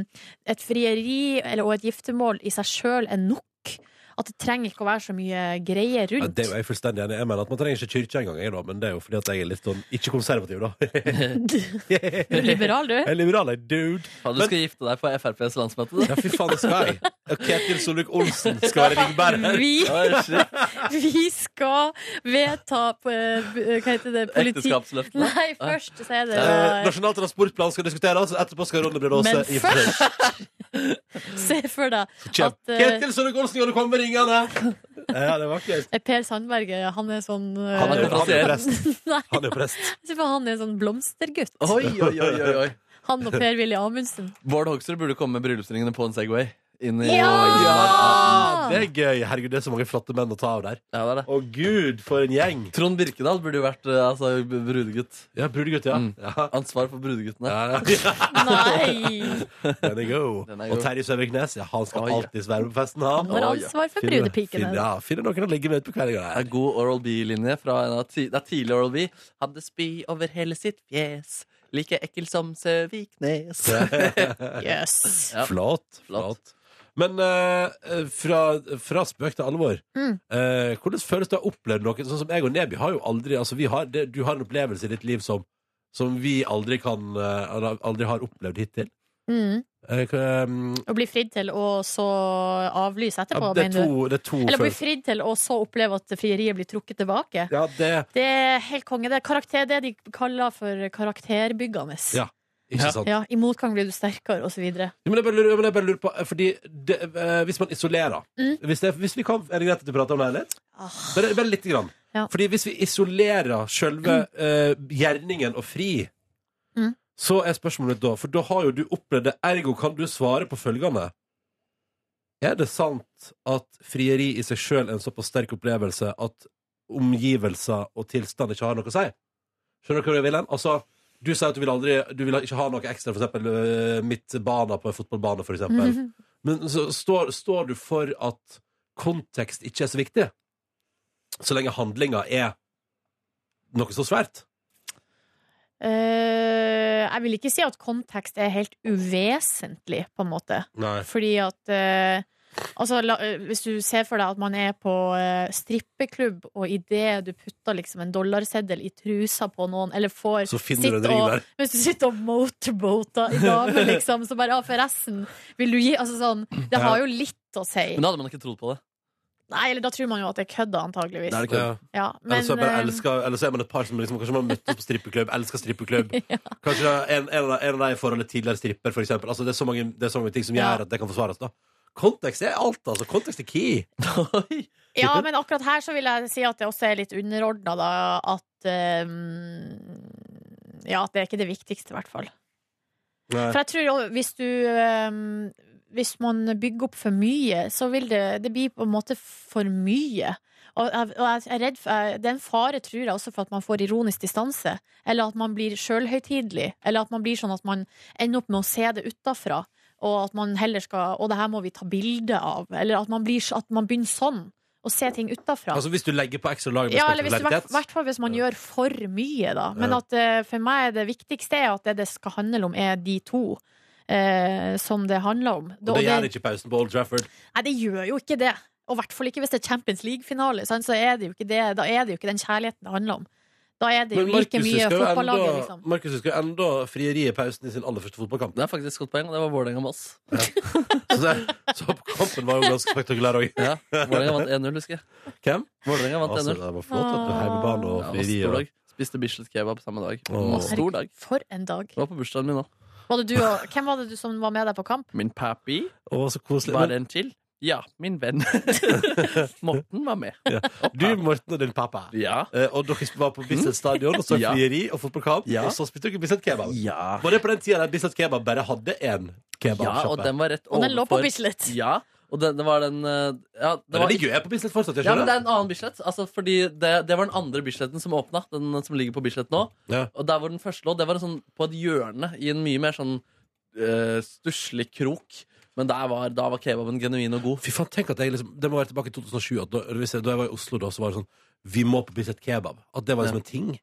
et frieri eller, og et giftermål i seg sjøl er nok. At det trenger ikke å være så mye greier Ja, rundt. det er jo jeg fullstendig enig i. Jeg mener at Man trenger ikke kirke engang, jeg, da, men det er jo fordi at jeg er litt sånn ikke konservativ, da. Du er liberal, du. Jeg er liberal, jeg, dude. Faen, du skal gifte deg på FrPs landsmøte, du. Ja, fy faen, det skal jeg. Og Ketil Solvik-Olsen skal være ringbærer. Vi- Ja, shit. Vi skal vedta på, eh, b- Hva heter det? Politi... Ekteskapsløftene? Nei, først så er det Eh, Nasjonal transportplan skal diskuteres, og etterpå skal Ronny Brede Aase Men gifte seg. Se for deg Kjem. at eh, Ketil Solvik-Olsen, kan du komme med ringene? Ja, det er vakkert. Per Sandberg eh, han er sånn eh, Han er- han er prest. Nei, Han er prest. jeg tror han er sånn blomstergutt. Oi, oi, oi, oi, oi. Han og Per-Willy Amundsen. Bård Hoksrud burde komme med bryllupsringene på en Segway. Inn i Ja! Det er gøy. Herregud, det er så mange flotte menn å ta av der. Ja, det er det. Å gud, for en gjeng. Trond Birkedal burde jo vært eh, altså, b- brudegutt. Mm. Ja, brudegutt, ja. Ansvar for brudeguttene. Nei! Den er god. er Og god. Terje Søviknes, ja, han skal alltid være med på festen, han. Han har ansvar for Finner- brudepikene. finner- Ja, finner noen å ligge med på kvelden. Det er god Oral B-linje fra en av ti Det er tidlig Oral B. Hadde spy over hele sitt fjes. Like ekkel som Søviknes. Yes. Ja. Flott. flott. Men eh, fra, fra spøk til alvor, Mm. eh, hvordan føles det å ha opplevd noe sånn som jeg og Neby har jo aldri altså vi har, det, Du har en opplevelse i ditt liv som, som vi aldri, kan, eh, aldri har opplevd hittil. Mm. Eh, hva- mm, Å bli fridd til, og så avlyse etterpå, ja, det, er mener du? to, det er to Eller bli følelser. fridd til, og så oppleve at frieriet blir trukket tilbake. Ja, det, Det er helt konge. Det er karakter, det de kaller for karakterbyggende. ja, ikke sant? Ja, I motgang blir du sterkere, og så videre. Ja, men jeg bare lurer, men jeg bare lurer på eh, Fordi det, eh, hvis man isolerer Mm. hvis, det, hvis vi kan, Er det greit at du prater om det her litt? Bare, bare litt grann Ja. Fordi hvis vi isolerer selve eh, gjerningen og fri Mm. Så er spørsmålet da For da har jo du opplevd det Ergo kan du svare på følgende Er det sant at frieri i seg selv er en såpass sterk opplevelse At omgivelser og tilstand ikke har noe å si? Skjønner du hva jeg vil hen? Altså, du sier at du vil aldri Du vil ikke ha noe ekstra, for eksempel øh, midtbana på en fotballbane, for eksempel. Mhm. Men så står, står du for at kontekst ikke er så viktig, så lenge handlinga er noe så svært? Eh, jeg vil ikke si at kontekst er helt uvesentlig, på en måte. Nei. Fordi at eh, Altså, la, eh, hvis du ser for deg at man er på eh, strippeklubb, og idet du putter liksom en dollarseddel i trusa på noen, eller får Så sitt finner du en ring og- der. Hvis du sitter og motorboater i damer, liksom, så bare Ja, forresten, vil du gi Altså sånn Det Ja. har jo litt å si. Men da hadde man ikke trodd på det. Nei, eller da tror man jo at det er kødd, antageligvis. Da er det kødd. Ja. Ja, eller, men så er bare eh, elsker, eller så er man et par som liksom, kanskje man møttes på strippeklubb, elsker strippeklubb. Kanskje det er en, en, av de- en av de i forholdet tidligere stripper, for eksempel. Altså, det, er så mange, det er så mange ting som Ja. gjør at det kan forsvares. da Kontekst er alt, altså. Kontekst er key. Ja, men akkurat her så vil jeg si at det også er litt underordna, da. At eh, ehm, Ja, det er ikke det viktigste, i hvert fall. Nei. For jeg tror jo, hvis du ehm, Hvis man bygger opp for mye, så vil det Det blir på en måte for mye. Og jeg, og jeg er redd for jeg, Det er en fare, tror jeg, også for at man får ironisk distanse. Eller at man blir sjølhøytidelig. Eller at man blir sånn at man ender opp med å se det utafra. Og at man heller skal Og det her må vi ta bilde av. Eller at man, blir, at man begynner sånn. Å se ting utafra. Altså Hvis du legger på ekstra lag med Ja, eller hvis, spektakularitet, hvert, hvert fall hvis man gjør for mye, da. Men Ja. at eh, for meg er det viktigste er at det det skal handle om, er de to eh, som det handler om. og det gjør ikke pausen på Old Trafford. Nei, det gjør jo ikke det. Og i hvert fall ikke hvis det er Champions League-finale. sant, Så er det jo ikke det. Da er det jo ikke den kjærligheten det handler om. Da er det jo like Markus mye husker jo fotballaget, enda- liksom. Markus husker jo enda frieriet i pausen i sin aller første fotballkamp. Det er faktisk et godt poeng. og Det var Vålerenga-Moss. Så, det- så kampen var jo ganske spektakulær òg. Ja, Vålerenga vant 1-0, husker jeg. Hvem? Vålerenga vant Altså, 1-0. det var flott at du heimebane og Ja, det var frieri. stor og- dag. Spiste Bislett kebab samme dag. Det Åh. var Stor dag. For en dag. Det var på bursdagen min òg. Var det du og, hvem var det du som var med deg på kamp? Min pappy. Å, så koselig. Var Men- det en til? Ja, min venn. Morten var med. Ja. Du, Morten og din pappa. Ja. Mm. Eh, og dere var på Bislett stadion og så Ja. frieri og fotballkamp. Ja. Og så spiste dere Bislett kebab. Ja. Var det på den tida der Bislett kebab bare hadde én Ja, og kebabsjappe? den var rett Og den lå på overfor- Bislett. Ja, og den, det var den eh, ja, det Men var det ligger jo jeg på Bislett fortsatt. Jeg Ja, men det skjønner. er en annen Bislett. Altså, fordi det, det var den andre Bisletten som åpna. Den som ligger på Bislett nå. Ja. Og der hvor den første lå, det var en sånn, på et hjørne i en mye mer sånn eh, stusslig krok. Men der var, da var kebaben genuin og god. Fy faen, tenk at jeg liksom Det må være tilbake i 2007. At da, hvis jeg, da jeg var i Oslo, da, så var det sånn Vi må på Bislett kebab. At det var liksom en ting.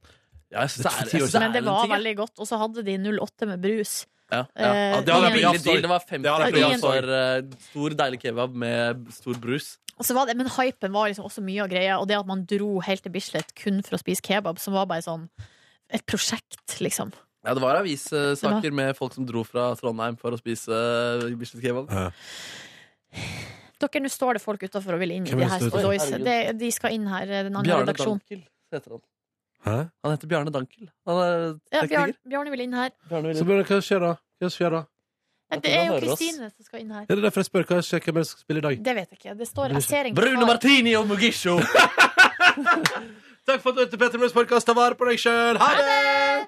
Ja, jeg synes det, er, ti år jeg synes Men det er en var ting, ja. veldig godt. Og så hadde de 08 med brus. Ja. Eh, Ja, det hadde jeg ingen- blitt Billig deal. Det var Det hadde 50 jeg kroner blitt for eh, stor, deilig kebab med stor brus. Og så var det, men hypen var liksom også mye av greia, og det at man dro helt til Bislett kun for å spise kebab, som var bare sånn et prosjekt, liksom. Ja, det var avissaker med folk som dro fra Trondheim for å spise Bislett kebab. Dere, nå står det folk utafor og vil inn i Hvem de er her det som står Stodoys. utenfor? De, de skal inn her, den andre Bjarne redaksjonen. Dankel heter han. Hæ? Han heter Bjarne Dankel. Han er Ja, tekniker. Bjarne, Bjarne vil inn her. Bjarne Så Wilhelm. blir det, hva skjer da? Hva skjer da? Nei, Jeg det tror er han jo hører oss. Kristine som skal inn her. Er det derfor jeg spør hva skjer, hvem er det som skal spille i dag? Det vet jeg ikke. Det står jeg ser ikke Bruno hva- Martini og Mugisho! Takk for at du til Petter Møhls podcast. Ta vare på deg sjøl. Ha det!